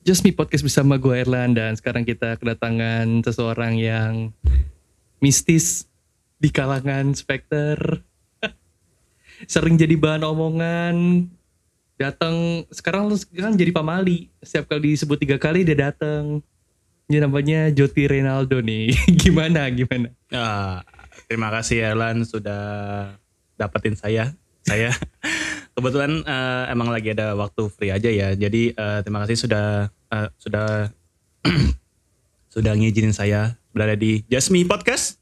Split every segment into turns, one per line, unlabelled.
Just Me Podcast bersama gue Erlan dan sekarang kita kedatangan seseorang yang mistis di kalangan Spectre. Sering jadi bahan omongan, datang sekarang lu kan jadi pamali. Setiap kali disebut tiga kali dia datang. Ini namanya Joti Reynaldo nih. gimana gimana?
Ah, terima kasih Erlan sudah dapetin saya. Saya kebetulan eh, emang lagi ada waktu free aja ya. Jadi eh, terima kasih sudah eh, sudah sudah ngizinin saya berada di Jasmine Podcast.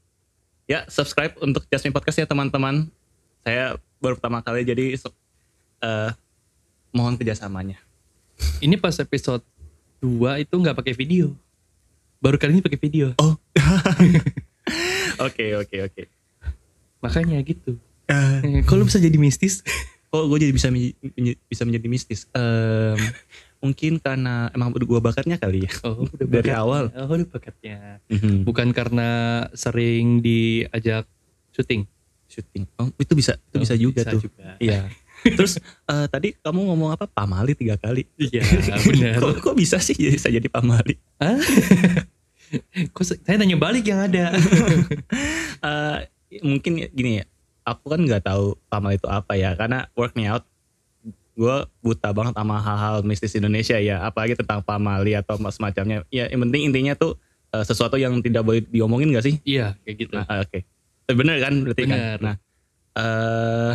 Ya, subscribe untuk Jasmine Podcast ya teman-teman. Saya baru pertama kali jadi so- eh, mohon kerjasamanya.
Ini pas episode 2 itu nggak pakai video. Baru kali ini pakai video.
Oh. Oke, oke, oke.
Makanya gitu.
Eh,
Eh, Kok lu bisa jadi mistis?
kok gue jadi bisa menj- menj- bisa menjadi mistis Em, mungkin karena emang gue bakatnya kali ya Mhm.
Oh, udah
dari
bakatnya.
awal
Oh, udah bakatnya. bukan karena sering diajak syuting
syuting oh, itu bisa itu bisa juga tuh iya terus eh, tadi kamu ngomong apa pamali tiga kali
iya benar
kok, kok bisa sih jadi saya jadi pamali
Hah? Kok se- saya tanya balik yang ada
Eh, mungkin gini ya aku kan nggak tahu pamali itu apa ya karena work me out gue buta banget sama hal-hal mistis Indonesia ya apalagi tentang pamali atau semacamnya ya yang penting intinya tuh eh, sesuatu yang tidak boleh diomongin gak sih
iya kayak gitu
Nah, ah, oke. Eh, Bener kan berarti
Bener.
kan. Nah, eh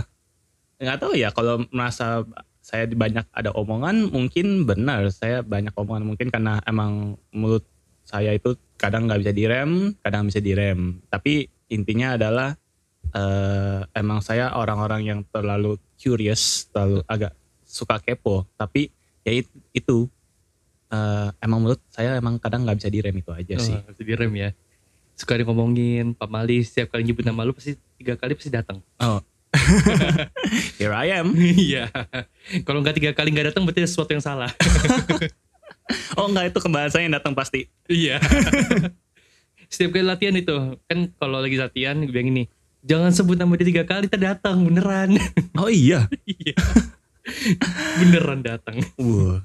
nggak tahu ya kalau merasa saya banyak ada omongan mungkin benar saya banyak omongan mungkin karena emang mulut saya itu kadang nggak bisa direm, kadang bisa direm. Tapi intinya adalah eh emang saya orang-orang yang terlalu curious, terlalu agak suka kepo. Tapi ya it- itu eh, emang mulut saya emang kadang nggak bisa direm itu aja sih.
Oh, harus direm ya suka dia ngomongin Pak Mali setiap kali nyebut nama lu pasti tiga kali pasti datang
Here I am.
iya kalau nggak tiga kali nggak datang berarti ada sesuatu yang salah
Oh enggak itu kembaran saya yang datang pasti.
Iya. Setiap kali latihan itu, kan kalau lagi latihan gue bilang ini, jangan sebut nama dia tiga kali, kita datang beneran.
Oh iya.
Iya. beneran datang.
Wah.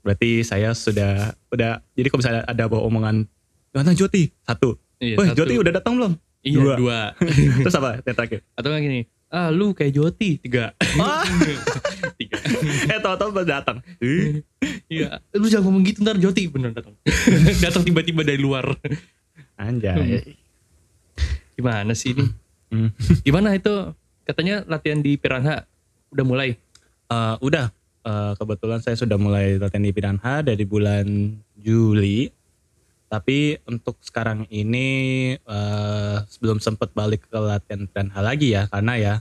Berarti saya sudah udah jadi kalau misalnya ada bawa omongan datang Joti satu.
Iya,
Woi
satu.
Joti udah datang belum?
Iya,
dua.
dua.
Terus apa yang terakhir?
Atau nggak gini, ah lu kayak Joti, tiga.
Wah,
tiga.
eh tahu-tahu baru datang. Ih,
Iya, lu jangan ngomong gitu ntar Joti beneran datang. datang tiba-tiba dari luar.
Anjay.
Gimana sih ini?
Hmm.
Gimana itu? Katanya latihan di Piranha udah mulai.
Eh, udah Eh, kebetulan saya sudah mulai latihan di Piranha dari bulan Juli. Tapi untuk sekarang ini eh, belum sempat balik ke latihan Piranha lagi ya karena ya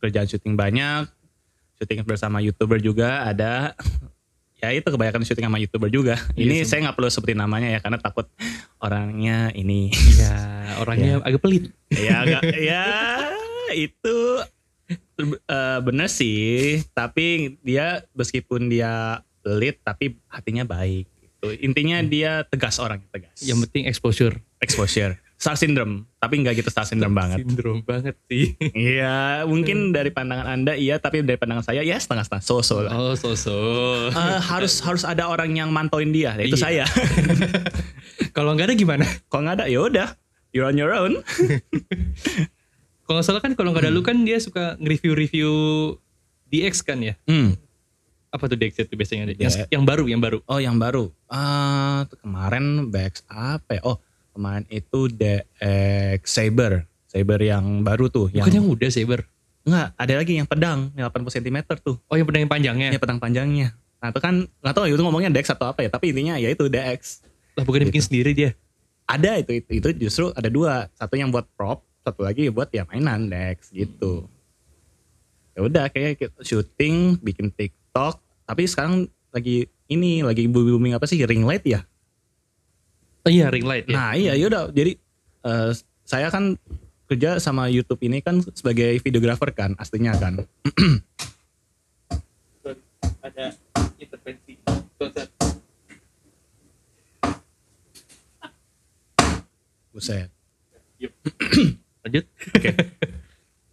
kerjaan syuting banyak, syuting bersama youtuber juga ada. Ya itu kebanyakan syuting sama youtuber juga.
Iya,
Ini
sama.
saya nggak perlu sebutin namanya ya karena takut orangnya ini
Iya, orangnya agak pelit.
ya agak- ya itu eh, bener sih tapi dia meskipun dia pelit tapi hatinya baik Gitu. intinya
Hmm.
dia tegas orangnya tegas
Yang penting exposure.
exposure star syndrome tapi nggak gitu star syndrome banget
Sindrom banget sih.
Iya
Hmm.
mungkin dari pandangan anda iya tapi dari pandangan saya ya setengah setengah so so lah
Oh, so-so.
Eh, harus harus ada orang yang mantauin dia itu
Iya.
saya
Kalau nggak ada gimana?
kalau nggak ada ya udah you're on your own
Kalau nggak salah kan kalau nggak ada lu kan dia suka nge-review-review DX kan ya? Apa tuh DX itu biasanya? Yang,
DX.
yang baru, yang baru.
Oh yang baru. Ah tuh kemarin BX apa? ya? Oh kemarin itu DX Saber. Saber yang baru tuh.
Bukan
Yang,
yang udah Saber.
enggak ada lagi yang pedang yang 80 cm tuh.
Oh, yang pedang yang panjangnya.
Yang pedang panjangnya. Nah itu kan nggak tahu ya, itu ngomongnya DX atau apa ya. Tapi intinya ya itu DX.
Lah bukan yang bikin sendiri dia.
Ada itu, itu itu justru ada dua. Satu yang buat prop, satu lagi buat ya mainan DX gitu. Ya udah kayak kita syuting, bikin TikTok. Tapi sekarang lagi ini lagi booming apa sih ring light ya?
Oh iya, ring light ya.
Nah iya yaudah jadi eh, saya kan kerja sama YouTube ini kan sebagai videografer kan aslinya kan.
Ada intervensi.
Buset.
Lanjut.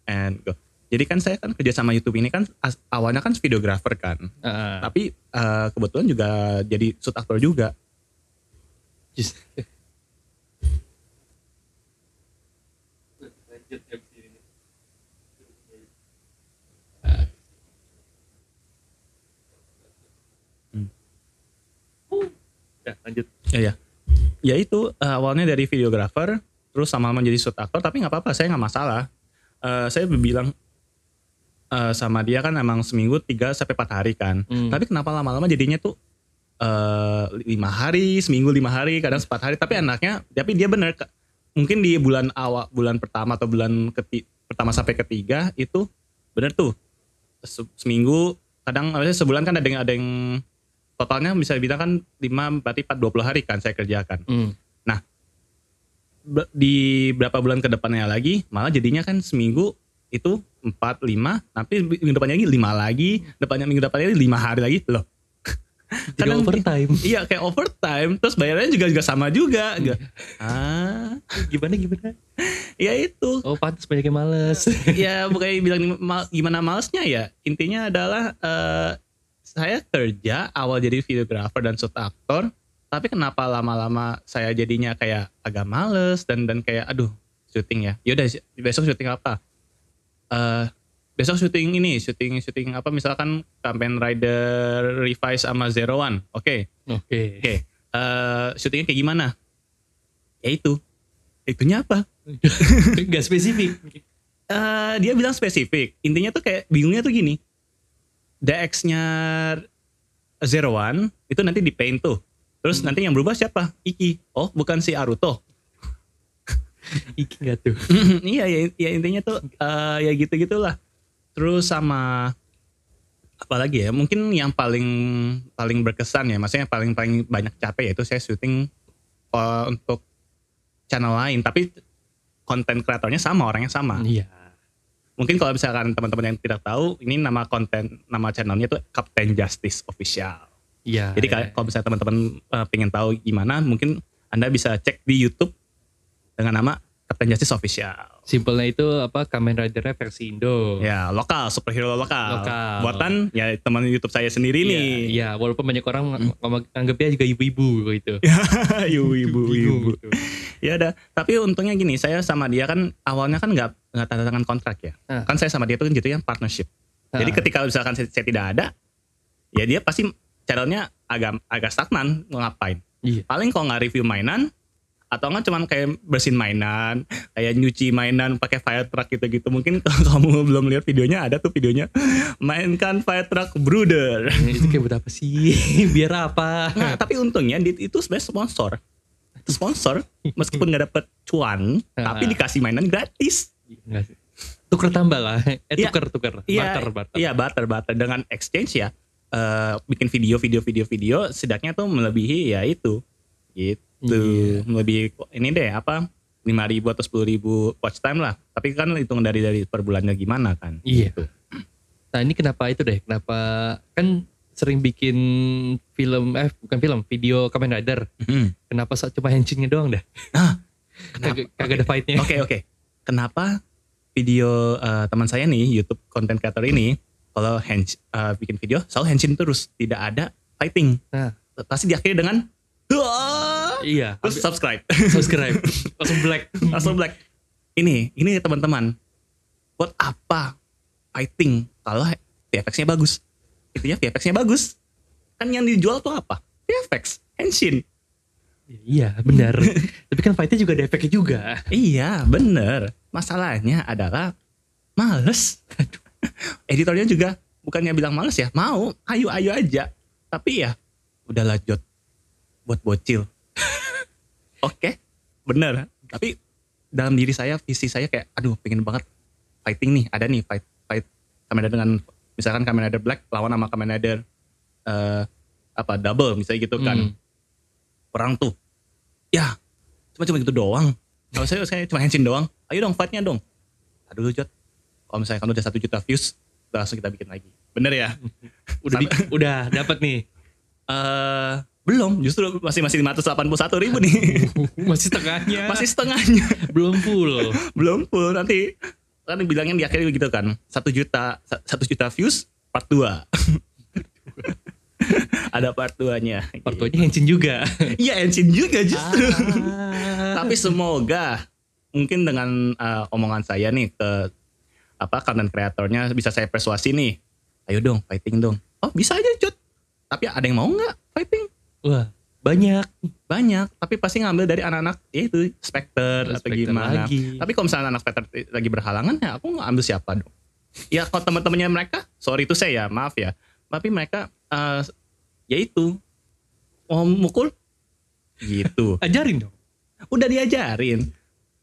And go. Jadi kan saya kan kerja sama YouTube ini kan as- awalnya kan videographer kan,
Heeh.
tapi eh, kebetulan juga jadi shoot actor juga.
Just-
Hmm.
Ya, lanjut.
Iya. Ya itu eh, awalnya dari videographer, terus sama menjadi shoot actor, tapi nggak apa-apa, saya nggak masalah. Eh, saya bilang eh, sama dia kan emang seminggu 3 sampai 4 hari kan.
Hmm.
Tapi kenapa lama-lama jadinya tuh eh, lima hari, seminggu lima hari, kadang empat hari. Tapi anaknya, tapi dia bener Kak. mungkin di bulan awal, bulan pertama atau bulan keti- pertama sampai ketiga itu bener tuh Se- seminggu kadang maksudnya sebulan kan ada yang ada yang totalnya bisa dibilang kan 5 berarti 4 20 hari kan saya kerjakan.
Hmm.
Be- Di berapa bulan ke depannya lagi malah jadinya kan seminggu itu 4 5 tapi minggu depannya lagi 5 lagi, depannya minggu depannya lagi 5 hari lagi loh.
Jadi
Kadang-
overtime.
Iya kayak overtime terus bayarnya juga juga sama juga. Nggak- ah,
gimana gimana?
ya itu.
Oh, pantas banyak yang males.
ya bukannya bilang ma- gimana malesnya ya. Intinya adalah eh, saya kerja awal jadi videographer dan shoot actor, tapi kenapa lama-lama saya jadinya kayak agak males dan dan kayak aduh syuting ya. Yaudah besok syuting apa? Eh besok syuting ini, syuting syuting apa misalkan campaign rider revise sama zero one. Oke.
Oke.
Oke, eh, syutingnya kayak gimana? Ya itu. Itunya apa?
Gak spesifik.
Eh, dia bilang spesifik. Intinya tuh kayak bingungnya tuh gini. DX-nya Zero One itu nanti di paint tuh. Terus nanti yang berubah siapa? Iki. Oh, bukan si Aruto.
Iki gak tuh.
iya, ya, ya intinya tuh eh, ya gitu-gitulah. Terus sama apalagi ya? Mungkin yang paling paling berkesan ya, maksudnya yang paling paling banyak capek yaitu saya syuting eh, untuk channel lain, tapi konten kreatornya sama, orangnya sama.
Iya.
mungkin kalau misalkan teman-teman yang tidak tahu ini nama konten nama channelnya tuh Captain Justice Official
Iya.
jadi kayak kalau misalnya teman-teman eh, pengen tahu gimana mungkin anda bisa cek di YouTube dengan nama Captain Justice Official
simpelnya itu apa Kamen Rider versi Indo.
ya lokal superhero lokal,
Lokal.
buatan ya teman YouTube saya sendiri
Iya,
nih
Iya, walaupun banyak orang ng- ng- nganggepnya juga ibu-ibu gitu.
ibu ibu
Bingung
ibu
gitu.
ya ada tapi untungnya gini saya sama dia kan awalnya kan nggak nggak tanda tangan kontrak ya
Ah.
kan saya sama dia tuh kan gitu yang partnership Jadi
Ah.
ketika misalkan saya, saya tidak ada, ya dia pasti channelnya agak agak stagnan mau ngapain.
Iya.
Paling kalau nggak review mainan atau nggak cuman kayak bersin mainan, kayak nyuci mainan pakai fire truck gitu-gitu. Mungkin kalau kamu belum lihat videonya ada tuh videonya mainkan fire truck brother.
itu kayak buat apa sih? Biar apa?
Nah, tapi untungnya di- itu sebenarnya sponsor. Sponsor meskipun nggak dapet cuan, tapi dikasih mainan gratis.
Nggak sih. tuker tambah lah. Eh
Iya.
tuker tuker.
Iya,
Barter barter.
Iya barter barter dengan exchange ya eh, bikin video video video video setidaknya tuh melebihi ya itu gitu
Iya.
melebihi ini deh apa lima ribu atau sepuluh ribu watch time lah tapi kan hitung dari dari per bulannya gimana kan
Iya.
Gitu.
Nah ini kenapa itu deh? Kenapa kan sering bikin film eh bukan film video Kamen Rider.
Mhm.
Kenapa so- cuma henchingnya doang dah?
Kenapa?
Kagak kagak ada fightnya.
oke oke kenapa video eh, teman saya nih YouTube content creator ini kalau hench eh, bikin video selalu henshin terus tidak ada fighting
Nah.
pasti diakhiri dengan "Duh!"
Iya. Terus
terus subscribe
subscribe. Langsung black.
langsung black ini ini teman-teman buat apa fighting kalau VFX-nya bagus intinya VFX-nya bagus kan yang dijual tuh apa VFX Henshin
Iya benar. Tapi kan fightnya juga ada efeknya juga.
iya bener masalahnya adalah males Aduh. editornya juga bukannya bilang males ya mau ayo ayo aja tapi ya udah lanjut buat bocil oke bener tapi dalam diri saya visi saya kayak aduh pengen banget fighting nih ada nih fight fight Kamen Rider dengan misalkan Kamen Rider Black lawan sama Kamen Rider eh, apa double misalnya gitu kan
Hmm.
perang tuh ya cuma cuma gitu doang kalau saya saya cuma henshin doang ayo dong fightnya dong aduh Jot kalau misalnya kalau udah satu juta views langsung kita bikin lagi bener ya
Udah di- udah dapat nih.
eh belum justru masih masih 581 ribu nih
Masih tengahnya.
masih setengahnya
belum full.
belum full nanti kan bilangnya di akhir gitu kan satu juta sa- satu juta views part 2 ada part 2 nya
Part 2-nya Henshin juga.
iya engine juga justru
Ah.
tapi semoga mungkin dengan uh, omongan saya nih ke apa konten kreatornya bisa saya persuasi nih ayo dong fighting dong oh bisa aja cut tapi ada yang mau nggak fighting
Wah, banyak.
banyak tapi pasti ngambil dari anak-anak ya itu specter atau
Spectre
gimana
lagi.
tapi kalau misalnya anak specter lagi berhalangan ya aku nggak ambil siapa dong ya kalau teman-temannya mereka sorry itu saya ya maaf ya tapi mereka eh, ya itu mau mukul gitu
Ajarin dong.
udah diajarin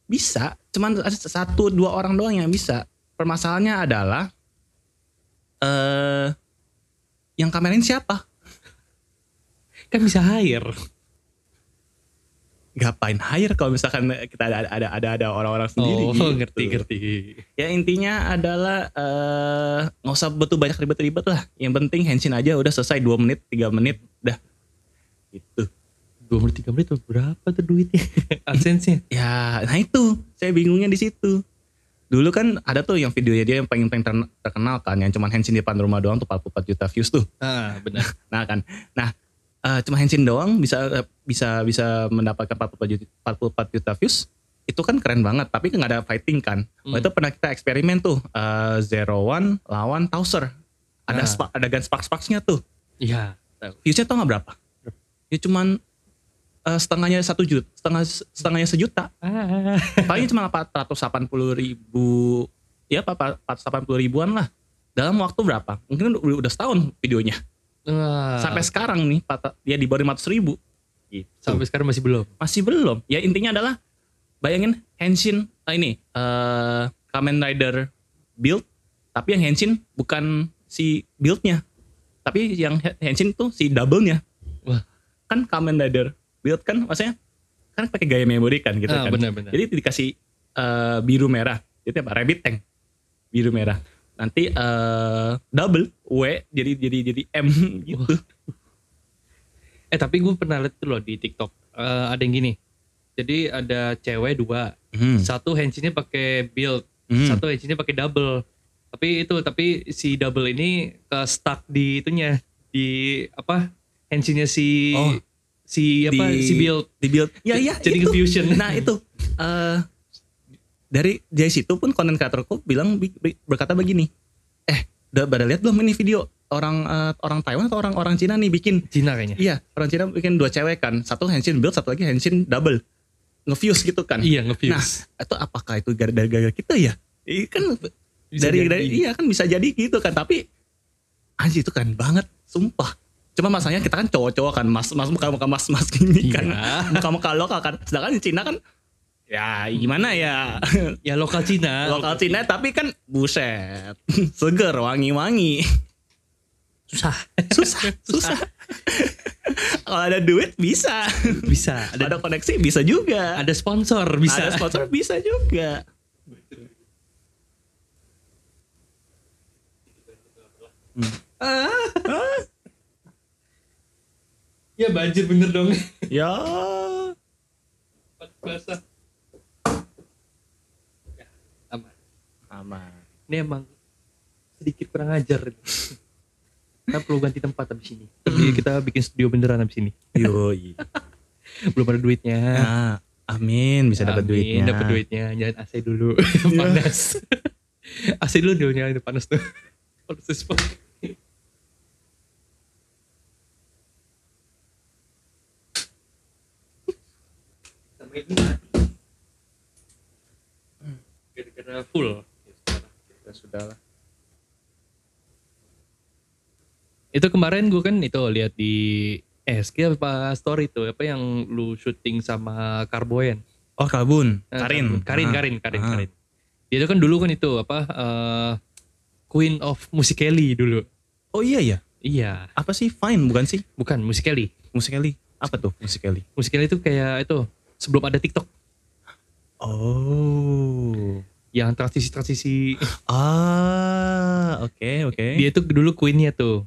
bisa cuman ada satu dua orang doang yang bisa permasalahannya adalah eh yang kamerain siapa
Kan bisa hire.
ngapain hire kalau misalkan kita ada ada ada ada orang-orang sendiri
oh,
gitu.
ngerti, ngerti.
ya intinya adalah eh, nggak usah betul banyak ribet-ribet lah yang penting hensin aja udah selesai dua menit tiga menit udah gitu
Dua menit, tiga menit berapa tuh duitnya? Adsense-nya.
Ya, nah itu saya bingungnya di situ. Dulu kan ada tuh yang videonya dia yang paling paling ter- terkenal kan, yang cuman Henshin di depan rumah doang tuh 44 juta views tuh.
Ah, benar.
Nah kan, nah eh, cuma Henshin doang bisa bisa bisa mendapatkan 44 juta, 44 juta views. Itu kan keren banget, tapi nggak ada fighting kan. Waktu itu pernah kita eksperimen tuh eh, Zero One lawan Tauser.
Nah.
Ada spa- adegan spark-sparksnya tuh.
Iya.
Viewsnya tau nggak berapa? Ya cuman eh, setengahnya satu juta, setengah setengahnya sejuta
Ah.
paling cuma 480 ribu ya apa 480 ribuan lah dalam waktu berapa mungkin udah, udah setahun videonya
Ah,
sampai sekarang nih pata- dia di bawah 500 ribu gitu.
sampai sekarang masih belum.
masih belum ya intinya adalah bayangin Henshin ah, ini eh Kamen Rider build tapi yang Henshin bukan si buildnya tapi yang He- Henshin tuh si double-nya
Wah.
kan Kamen Rider build kan maksudnya kan pakai gaya memori kan gitu
ah,
kan
benar-benar.
jadi dikasih eh, biru merah. Itu apa? Rabbit tank. Biru merah. Nanti eh, double W jadi jadi jadi M gitu.
Eh tapi gue pernah liat tuh loh di TikTok Eh, ada yang gini. Jadi ada cewek dua, satu henshinnya pakai build,
Hmm.
satu henshinnya pakai double. Tapi itu tapi si double ini ke stuck di itunya di apa henshinnya si
Oh.
si apa
Di-
si build.
Di build. Ya ya
Jadi
itu.
confusion.
Nah, itu eh, dari dari situ pun konten kreatorku bilang bi- bi- berkata begini. Eh, udah pada lihat belum ini video orang eh, orang Taiwan atau orang orang Cina nih bikin
Cina kayaknya.
Iya, orang Cina bikin dua cewek kan. Satu Henshin build, satu lagi Henshin double. Ngefuse gitu kan.
Iya ngefuse.
Nah, atau apakah itu gara- dari gara kita ya? Iya kan
Bisa
dari,
jadi.
dari iya kan bisa jadi gitu kan, tapi anjir itu keren banget, sumpah. Cuma masalahnya kita kan cowok-cowok kan, mas mas muka muka mas mas gini kan,
Iya.
muka muka lokal kan. Sedangkan di Cina kan, ya gimana ya
Ya lokal Cina.
lokal Cina tapi kan buset, seger, wangi-wangi,
susah.
susah susah. Kalau ada duit bisa,
Bisa. Ada,
ada koneksi bisa juga,
ada sponsor bisa.
Nah, ada sponsor bisa juga. Hmm.
Ya banjir bener dong.
Ya.
Basah. Ya, aman.
Aman.
ini emang sedikit kurang ajar. kita perlu ganti tempat abis ini.
Hmm.
Tapi kita bikin studio beneran abis ini.
Yoi.
Belum ada duitnya.
Nah, amin bisa dapat
Amin,
duitnya.
Dapat duitnya. Jangan AC dulu. panas.
Iya.
AC dulu dia nyalain tuh panas tuh. Panas tuh spot. Sampai ini mati. Gara-gara full.
Ya, sudah lah.
Itu kemarin gue kan itu lihat di SK apa story tuh apa yang lu syuting sama Karboyen.
Oh, Kabun.
Eh,
Karin.
Karin,
Ah.
Karin, Karin,
Ah.
Karin. Dia tuh kan dulu kan itu apa eh, Queen of Musikali dulu.
Oh iya ya.
Iya,
Apa sih Fine bukan sih?
bukan Musikali.
Musikali. Apa tuh Musikali?
Musikali itu kayak itu sebelum ada TikTok
Oh.
yang transisi-transisi
Ah, oke, oke.
dia itu dulu queennya tuh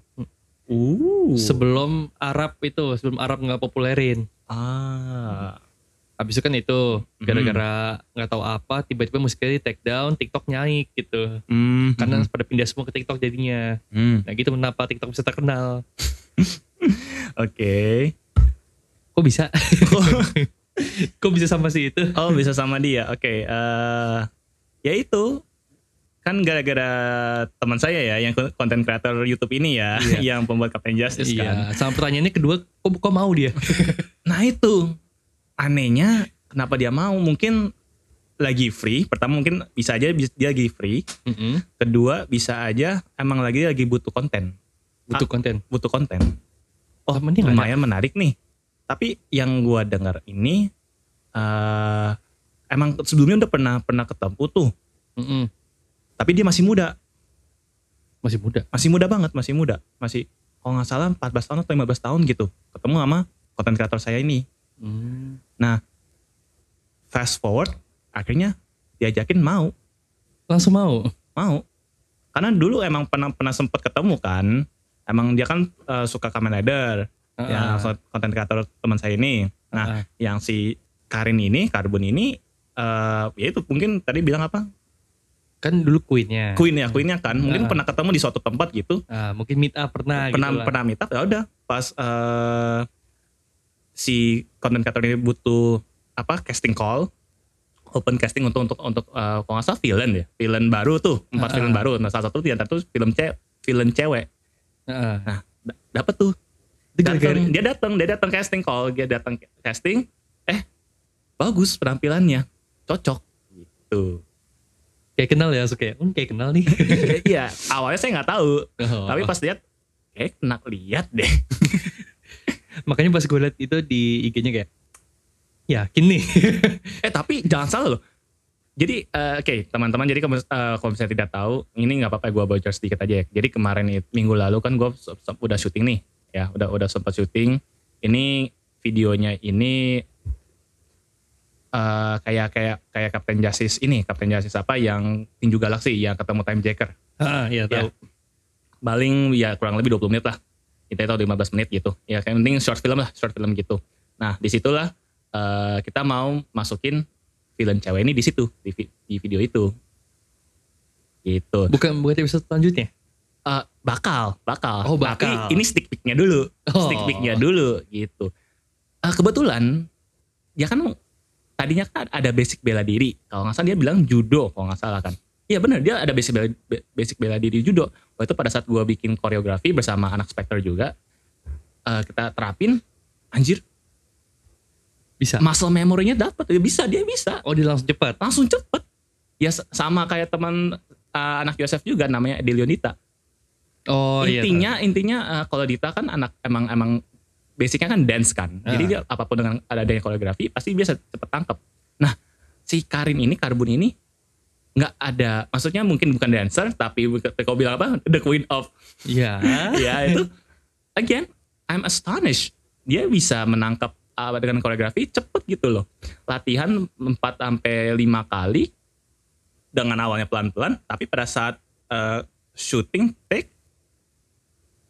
uh.
sebelum Arab itu sebelum Arab nggak populerin
ah.
Habis itu kan itu gara-gara nggak tahu apa tiba-tiba musiknya di take down, TikTok naik gitu.
Hmm,
Karena
hmm,
pada pindah semua ke TikTok jadinya.
hmm.
Nah gitu kenapa TikTok bisa terkenal.
Oke.
Kok bisa? Kok bisa sama sih itu?
Oh bisa sama dia. Oke. eh ya itu kan gara-gara teman saya ya yang konten kreator YouTube ini ya,
Iya.
yang pembuat Captain Justice kan.
Iya, sama pertanyaannya kedua, kok, kok mau dia?
Nah itu anehnya kenapa dia mau? Mungkin lagi free. Pertama mungkin bisa aja bis- dia lagi free.
Mm-mm,
Kedua bisa aja emang lagi lagi butuh konten,
Butuh
Ah.
konten.
butuh konten.
Oh, mending nggak ada.
Lumayan menarik nih. Tapi yang gua dengar ini eh emang sebelumnya udah pernah pernah ketemu tuh.
Mm-mm,
Tapi dia masih muda,
Masih muda.
masih muda banget, masih muda, masih kalau nggak salah 14 tahun atau 15 tahun gitu. Ketemu sama konten kreator saya ini. Mm.
Hmm.
Fast forward, akhirnya diajakin mau
Langsung mau.
mau karena dulu emang pernah pernah sempat ketemu kan emang dia kan eh, suka Kamen Rider yang
Ah,
konten kreator teman saya ini Ya, nah
ah.
yang si Karin ini Karbon ini eh ya itu mungkin tadi bilang apa
kan dulu queennya.
Queen ya Queennya kan mungkin
Ah.
pernah ketemu di suatu tempat gitu
Ah, mungkin meet up pernah,
pernah
gitu lah.
pernah meet up ya udah pas eh si konten kreator ini butuh apa casting call open casting untuk untuk untuk eh, kalau nggak salah villain ya villain baru tuh empat
Ah.
villain baru nah salah satu di antara tuh film ce villain cewek
Ah,
D- dapat tuh
itu gara-gara
Datang, dia datang dia datang casting call dia datang casting eh bagus penampilannya cocok gitu
kayak kenal ya suka ya hmm, kayak kenal nih
iya awalnya saya nggak tahu
Oh.
tapi pas lihat eh kena lihat deh
makanya pas gue liat itu di IG-nya kayak yakin nih
eh tapi jangan salah loh jadi eh, oke teman-teman jadi kamu eh, kalau misalnya tidak tahu ini nggak apa-apa gue bocor sedikit aja ya jadi kemarin it- minggu lalu kan gue udah syuting nih ya udah udah sempat syuting ini videonya ini eh, kayak kayak kayak Captain Justice ini Captain Justice apa yang tinju galaksi yang ketemu Time Jacker
ah iya tahu
Ya. paling ya kurang lebih 20 menit lah kita tahu 15 menit gitu ya kayak penting short film lah short film gitu nah disitulah eh, kita mau masukin film cewek ini di situ di, vi- di video itu gitu
bukan buat episode selanjutnya
Eh, bakal bakal
Oh, bakal.
tapi ini stick picknya dulu
Oh.
stick picknya dulu gitu Eh, kebetulan dia kan tadinya kan ada basic bela diri kalau nggak salah dia bilang judo kalau nggak salah kan iya benar dia ada basic bela, be- basic bela diri judo waktu itu pada saat gua bikin koreografi bersama anak Spectre juga eh, kita terapin anjir
bisa
muscle memory-nya dapat dia bisa dia bisa
oh dia langsung cepat
langsung cepet ya s- sama kayak teman eh, anak Yosef juga namanya Delionita
oh iya
intinya intinya eh, kalau Dita kan anak emang emang basicnya kan dance kan jadi
Ah.
dia apapun dengan adanya koreografi pasti biasa cepet tangkap nah si Karin ini Karbun ini nggak ada maksudnya mungkin bukan dancer tapi bukan- kau bilang apa the queen
tahu.
of
iya
ya itu again I'm astonished dia bisa menangkap uh, dengan koreografi cepet gitu loh latihan 4 sampai 5 kali dengan awalnya pelan-pelan tapi pada saat uh, shooting take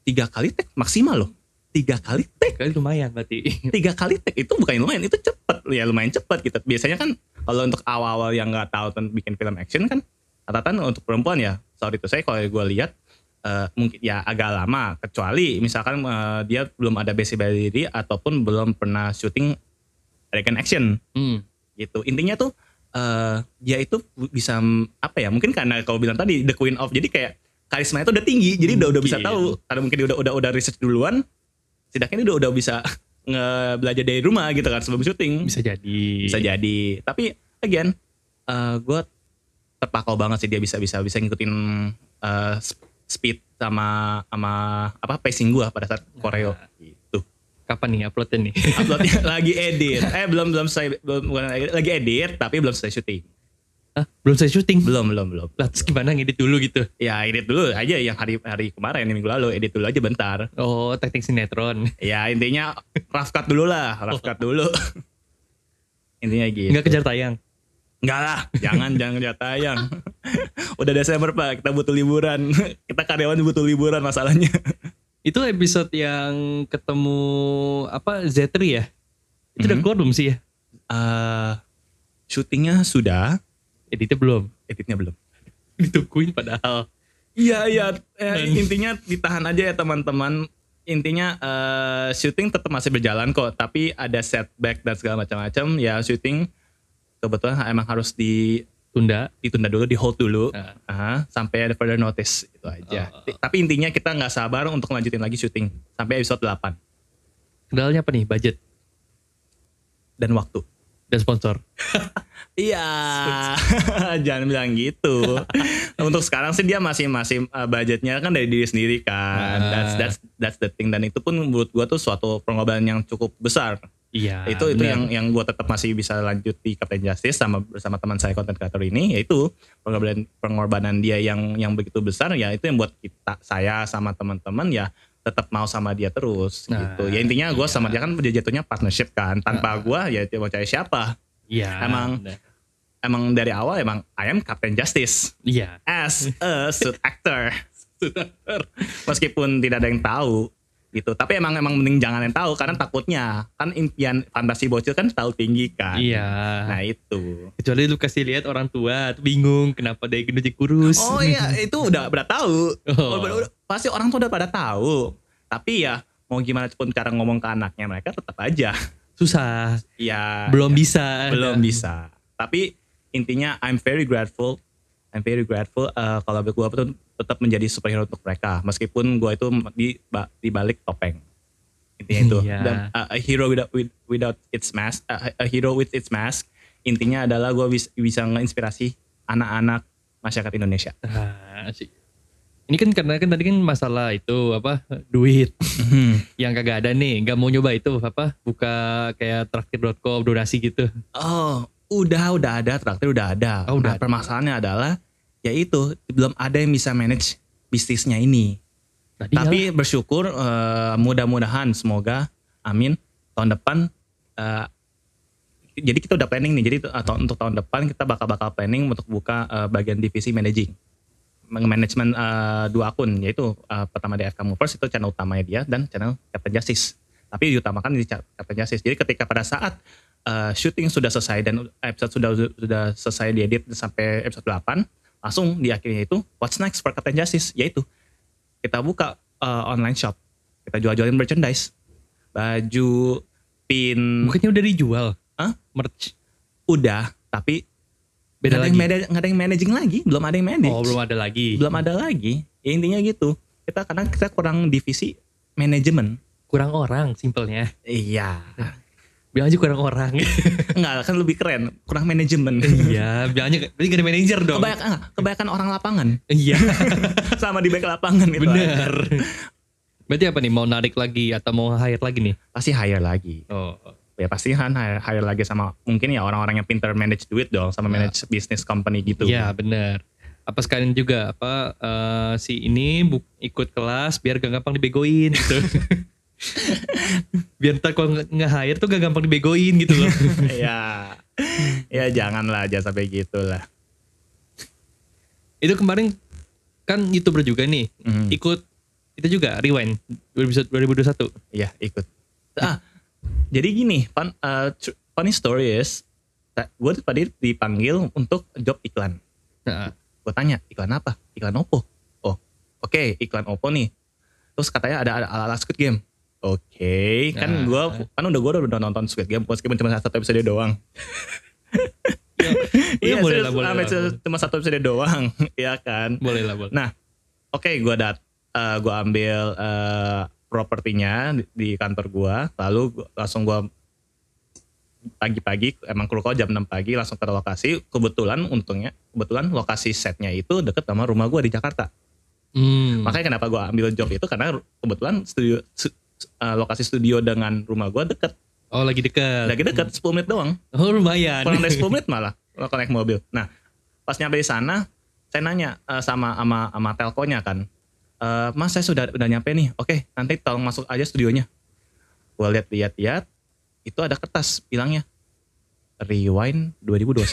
tiga kali take maksimal loh tiga kali take
kali lumayan berarti
tiga kali tag itu bukan lumayan itu cepet ya lumayan cepet gitu biasanya kan kalau untuk awal-awal yang nggak tahu tentang bikin film action kan catatan untuk perempuan ya sorry itu saya kalau gue lihat eh, mungkin ya agak lama kecuali misalkan eh, dia belum ada basic bela diri ataupun belum pernah syuting adegan action
hmm.
gitu intinya tuh eh dia itu bisa mm, apa ya mungkin karena kau bilang tadi the queen of jadi kayak karismanya itu udah tinggi jadi udah udah bisa
Mungkin.
tahu karena mungkin dia udah udah udah research duluan setidaknya dia udah udah bisa nge belajar dari rumah gitu kan sebelum syuting
bisa jadi
bisa jadi tapi again eh gue terpakau banget sih dia bisa bisa bisa ngikutin eh, sp- speed sama sama apa pacing gua pada
Nah,
saat koreo gitu
kapan nih uploadnya nih
uploadnya lagi edit eh belum belum saya belum bukan lagi, lagi edit tapi belum selesai syuting
Hah? belum saya syuting
belum belum belum
lah terus gimana ngedit dulu gitu
ya edit dulu aja yang hari hari kemarin yang minggu lalu edit dulu aja bentar
oh teknik sinetron
ya intinya rough cut dulu lah rough cut dulu intinya gitu
nggak kejar tayang
Enggak lah jangan jangan lihat tayang udah Desember pak kita butuh liburan kita karyawan butuh liburan masalahnya
itu episode yang ketemu apa Zetri ya itu udah
Mhm.
keluar belum sih ya
eh syutingnya sudah,
Editnya belum.
editnya belum.
Ditukuin padahal.
Iya iya eh,
Dan-
intinya ditahan aja ya teman-teman. Intinya eh, syuting tetap masih berjalan kok, tapi ada setback dan segala macam-macam. Ya syuting kebetulan emang harus di
Tunda.
ditunda dulu, di hold dulu
Nah,
ah, sampai ada further notice itu aja.
Oh.
Tapi intinya kita nggak sabar untuk lanjutin lagi syuting sampai episode 8
kendalanya apa nih? Budget
dan waktu.
dan sponsor.
Iya, jangan bilang gitu. Untuk sekarang sih dia masih masih uh, budgetnya kan dari diri sendiri
Ah.
kan. That's that's that's the thing dan itu pun menurut gua tuh suatu pengobatan yang cukup besar.
Iya.
itu itu
benar.
yang yang gua tetap masih bisa lanjut di Captain Justice sama bersama teman saya konten kreator ini yaitu pengorbanan pengorbanan dia yang yang begitu besar ya itu yang buat kita saya sama teman-teman ya tetap mau sama dia terus
Nah,
gitu. Ya intinya gua sama
iya. Ah.
dia kan dia jatuhnya partnership kan. Tanpa gua ya mau cari siapa
Iya.
emang.
benar.
emang dari awal emang I am Captain Justice
Iya.
as a suit actor. Meskipun tidak ada yang tahu gitu, tapi emang emang mending jangan yang tahu karena takutnya kan impian fantasi bocil kan terlalu tinggi kan.
Iya.
Nah itu.
Kecuali lu kasih lihat orang tua bingung kenapa dia gendut jadi kurus.
Oh iya itu udah udah tahu.
Oh.
Udah- udah- pasti orang tuh udah pada tahu. Tapi ya mau gimana pun cara ngomong ke anaknya mereka tetap aja.
Susah.
Ya
Belum bisa.
belum bisa. Tapi intinya I'm very grateful. I'm very grateful eh, kalau gue tuh tetap menjadi superhero untuk mereka meskipun gue itu di ba- di balik topeng. Intinya itu.
Iya.
Dan, eh, a hero without with- without its mask, eh, a hero with its mask. Intinya adalah gue bisa ngeinspirasi anak-anak masyarakat Indonesia.
Ah, asik. Ini kan karena kan tadi kan masalah itu apa duit
Hmm.
yang kagak ada nih, nggak mau nyoba itu apa buka kayak traktir.com donasi gitu.
Oh, udah udah ada traktir udah ada.
Oh, udah
Nah,
ada.
permasalahannya adalah yaitu belum ada yang bisa manage bisnisnya ini.
Tadi
Nah, Tapi bersyukur eh, mudah-mudahan semoga amin tahun depan eh, jadi kita udah planning nih. Jadi eh, ta- untuk tahun depan kita bakal-bakal planning untuk buka eh, bagian divisi managing. Manajemen eh, dua akun yaitu eh, pertama DFK Movers itu channel utamanya dia dan channel Captain Justice. Tapi diutamakan di Cap- Captain Justice. Jadi ketika pada saat eh, syuting sudah selesai dan episode sudah sudah selesai diedit sampai episode 8, langsung di akhirnya itu what's next for Captain Justice yaitu kita buka uh, online shop kita jual-jualin merchandise baju pin
bukannya udah dijual?
Hmm. Hah?
Merch.
udah tapi
Beda
nggak ada
lagi.
yang manage- nggak ada yang managing lagi belum ada yang manage
Oh, belum ada lagi.
Belum ada lagi ya, intinya gitu kita karena kita kurang divisi manajemen
Kurang orang simpelnya.
iya
Bilang aja kurang orang.
nggak kan lebih keren kurang manajemen
iya, bilangnya berarti gak ada manajer dong.
kebanyakan ah, kebanyakan orang lapangan
Iya,
sama di back lapangan gitu
bener. Berarti apa nih mau narik lagi atau mau hire lagi nih?
pasti hire lagi
Oh,
ya pasti kan hire, hire lagi sama mungkin ya orang-orang yang pinter manage duit dong sama
Ya.
manage bisnis company gitu
Iya benar. Apa sekalian juga apa eh, si ini bu- ikut kelas biar gak gampang dibegoin gitu. biar ntar kalau nge- nge-hire tuh gak gampang dibegoin gitu loh.
ya ya janganlah aja sampai gitulah
itu kemarin kan youtuber juga nih
Mhm.
ikut itu juga rewind 2021.
ya ikut ah jadi gini fun, uh, tr- funny story is gue tadi dipanggil untuk job iklan
Nah,
gue tanya iklan apa iklan Oppo oh oke iklan Oppo nih terus katanya ada ada ala, -ala Squid Game oke kan
Nah.
gue kan udah gue udah nonton Squid Game meskipun cuma satu episode doang
ya, boleh
serius,
lah, boleh
ah,
lah, boleh.
cuma satu episode doang Iya kan
boleh lah boleh.
oke gua dat eh, gua ambil eh, propertinya di, di kantor gua lalu gua- langsung gua pagi-pagi emang kru kau jam 6 pagi langsung ke lokasi kebetulan untungnya kebetulan lokasi setnya itu deket sama rumah gua di Jakarta
Hmm.
makanya kenapa gua ambil job itu karena ru- kebetulan studio su- eh, lokasi studio dengan rumah gua deket
Oh lagi dekat.
lagi deket 10 menit doang
Oh lumayan.
kurang dari 10 menit malah kalau naik mobil. Nah, pas nyampe di sana, saya nanya eh, sama sama sama telkonya kan. "Eh, mas saya sudah udah nyampe nih. Oke, nanti tolong masuk aja studionya. Gua lihat-lihat-lihat, itu ada kertas bilangnya rewind 2021.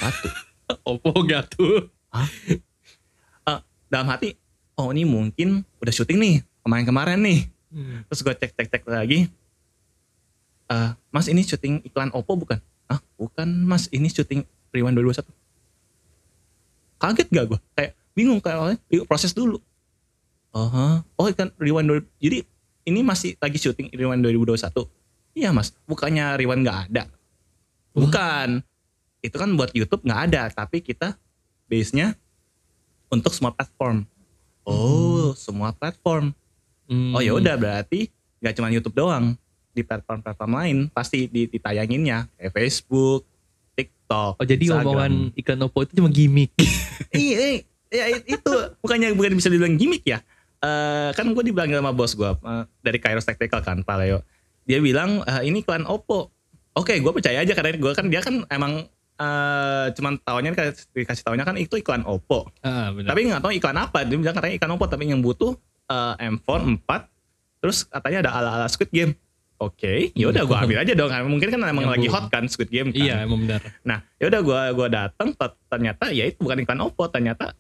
Oppo gak Oh, tuh.
Dalam hati, oh ini mungkin udah syuting nih kemarin-kemarin nih.
Hmm.
Terus gue cek cek cek lagi. Eh, mas ini syuting iklan Oppo bukan? ah bukan mas ini syuting Rewind 2021 kaget gak gue kayak bingung kayak awalnya "Yuk, proses dulu Aha. oh kan Rewind 2000 jadi ini masih lagi syuting Rewind 2021 iya mas bukannya Rewind nggak ada bukan itu kan buat YouTube nggak ada tapi kita base nya untuk semua platform oh semua platform Oh
Hmm.
ya udah berarti nggak cuma YouTube doang di platform-platform lain pasti di- ditayanginnya kayak Facebook, TikTok.
Oh jadi
Instagram.
omongan ikan opo itu cuma gimmick.
iya, iya, iya, itu bukannya bukan bisa dibilang gimmick ya? Eh kan gue dibilang sama bos gue eh, dari Kairos Technical kan, Pak Leo. Dia bilang "Eh, ini klan Oppo. Oke, gue percaya aja karena gue kan dia kan emang eh cuman tahunya dikasih tahunya kan itu iklan Oppo.
ah, benar.
Tapi nggak tahu iklan apa. Dia bilang katanya iklan Oppo tapi yang butuh eh, M4 4. Terus katanya ada ala-ala Squid Game. Oke, ya udah gua ambil aja dong. Mungkin kan emang
Nyambung.
lagi hot kan Squid Game kan.
iya emang benar.
Nah, ya udah gua gua datang ter- ternyata ya itu bukan iklan Oppo, ternyata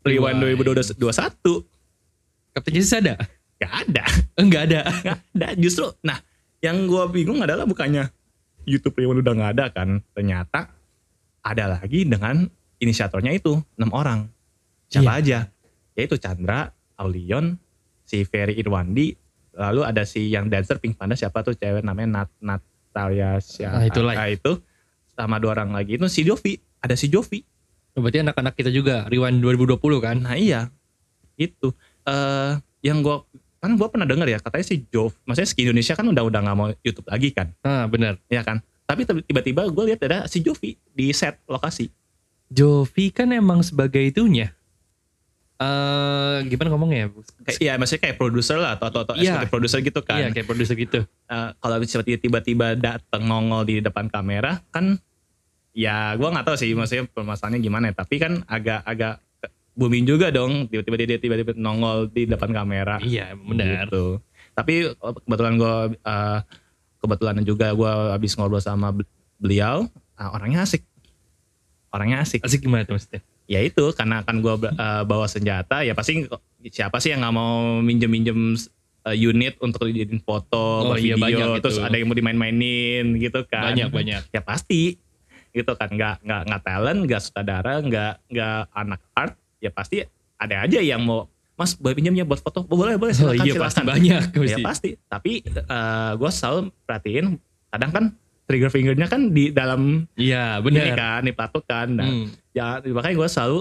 Rewind
Rewind.
2021
Kapten Jesus ada?
nggak ada.
Enggak ada.
Nggak ada justru. Nah, yang gua bingung adalah bukannya YouTube Rewind udah nggak ada kan. Ternyata ada lagi dengan inisiatornya itu, 6 orang.
Iya.
siapa aja yaitu Chandra Aulion si Ferry Irwandi lalu ada si yang dancer Pink Panda siapa tuh cewek namanya Nat Natalia siapa Nah,
Ah, itulah.
itu sama dua orang lagi itu si Jovi ada si Jovi
Oh, Berarti anak-anak kita juga Rewind 2020 kan?
nah iya gitu eh yang gua kan gua pernah dengar ya katanya si Jov maksudnya si Indonesia kan udah udah nggak mau YouTube lagi kan
Ah benar.
ya kan tapi tiba-tiba gue lihat ada si Jovi di set lokasi
Jovi kan emang sebagai itunya. Eh gimana ngomongnya?
kayak iya maksudnya kayak produser lah atau atau, atau
Iya.
eksekutif produser gitu kan
Iya kayak produser gitu.
Eh, kalau seperti tiba-tiba datang nongol di depan kamera kan ya gua nggak tahu sih maksudnya permasalahannya gimana ya tapi kan agak-agak booming juga dong tiba-tiba dia dia tiba-tiba nongol di depan kamera
Iya emang benar.
gitu. tapi eh, kebetulan gua eh, kebetulan juga gua habis ngobrol sama bel- beliau ah, orangnya asik orangnya asik
Asik gimana tuh maksudnya?
ya itu karena akan gua eh, bawa senjata ya pasti siapa sih yang nggak mau minjem-minjem eh, unit untuk dijadiin
Oh,
foto, buat
iya,
video,
banyak itu.
terus ada yang mau dimain-mainin gitu kan.
Banyak banyak.
Ya pasti gitu kan nggak nggak nggak talent, nggak sutradara, nggak nggak anak art, ya pasti ada aja yang mau Mas boleh pinjamnya buat foto? "Oh, Boleh boleh
Oh
silakan
iya pasti
silakan.
banyak
Ya
pasti.
pasti. Tapi gue selalu perhatiin kadang kan trigger fingernya kan di dalam
Iya
ini
benar.
kan, di patok kan. Nah,
Hmm.
ya makanya gue selalu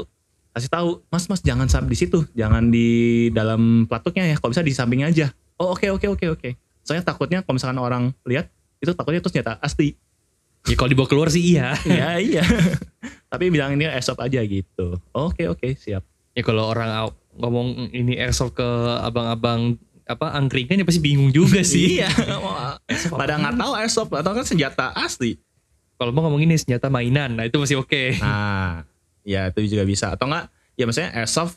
kasih tahu mas mas jangan sampai di situ jangan di dalam platoknya ya kalau bisa di samping aja oh oke oke oke oke soalnya takutnya kalau misalkan orang lihat itu takutnya itu senjata asli
Ya kalau dibawa keluar sih iya.
ya iya tapi bilang ini esop aja gitu oke oke siap
Ya kalau orang au- ngomong ini airsoft ke abang-abang apa angkringan ya pasti bingung juga sih.
iya pada nggak tahu esop atau kan senjata asli
Kalau mau ngomong ini senjata mainan, nah itu masih oke.
nah ya itu juga bisa atau enggak ya maksudnya esop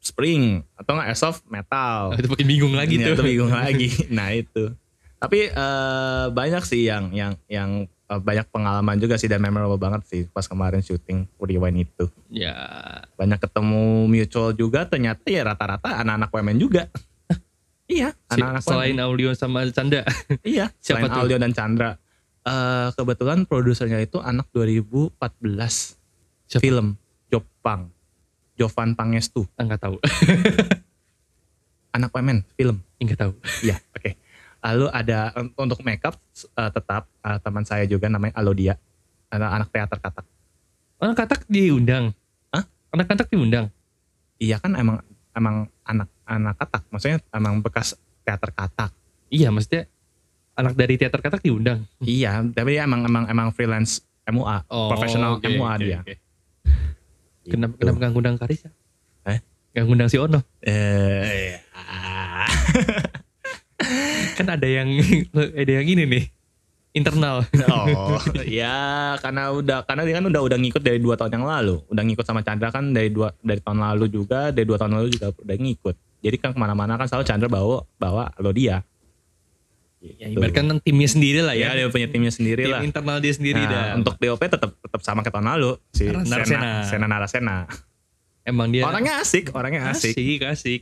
spring atau enggak esop metal
Nah, itu makin bingung lagi
Ya,
tuh.
itu bingung lagi. Nah itu. Tapi eh, banyak sih yang yang yang eh, banyak pengalaman juga sih dan memorable banget sih pas kemarin syuting Rewind itu.
Ya,
Banyak ketemu mutual juga ternyata ya rata-rata anak-anak women juga. iya,
si-
anak-anak
selain Aulion sama Canda.
women. iya,
siapa
selain
tuh?
Aldio dan Chandra. Eh, kebetulan produsernya itu anak 2014
Siapa?
film Jopang. Jovan Pangestu,
Ah, Nggak tahu.
anak women film.
Enggak tahu.
Iya, oke. Lalu ada un- untuk makeup eh, tetap eh, teman saya juga namanya Alodia. Anak, anak teater katak.
Anak Ah, katak diundang.
Hah?
Anak katak diundang.
Iya kan emang emang anak anak katak, maksudnya emang bekas teater katak.
Iya, maksudnya anak dari teater katak diundang.
Iya, tapi dia emang emang emang freelance MUA.
Oh,
Profesional
oke,
MUA
oke,
dia.
oke. Kenapa
Gitu.
kenapa nggak ngundang Karisa?
Eh?
Nggak ngundang ya? si Ono.
Eh,
Kan ada yang ada yang ini nih. Internal.
oh, ya karena udah karena dia kan udah udah ngikut dari dua tahun yang lalu, udah ngikut sama Chandra kan dari dua dari tahun lalu juga, dari dua tahun lalu juga udah ngikut. Jadi kan kemana-mana kan selalu Chandra bawa bawa Alodia.
Ya, ibaratkan timnya sendiri lah
ya
ya.
Iya, dia punya timnya sendiri
Tim
lah.
internal dia sendiri
Nah,
dah.
untuk DOP tetap tetap sama ke tahun lalu si
Narasena.
Sena Sena Narasena.
Emang dia
Orangnya asik, orangnya asik.
asik, asik.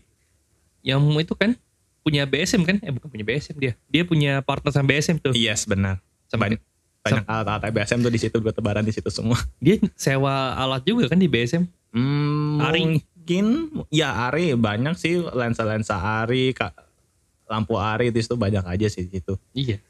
Yang itu kan punya BSM kan? Eh bukan punya BSM dia. Dia punya partner sama BSM tuh.
Yes benar.
Sama
Iya, Banyak. banyak alat-alat BSM tuh di situ gue tebaran di situ semua.
Dia sewa alat juga kan di BSM?
Hmm,
Ari.
mungkin ya Ari banyak sih lensa-lensa Ari, ka- lampu Ari di situ banyak aja sih di situ.
Iya.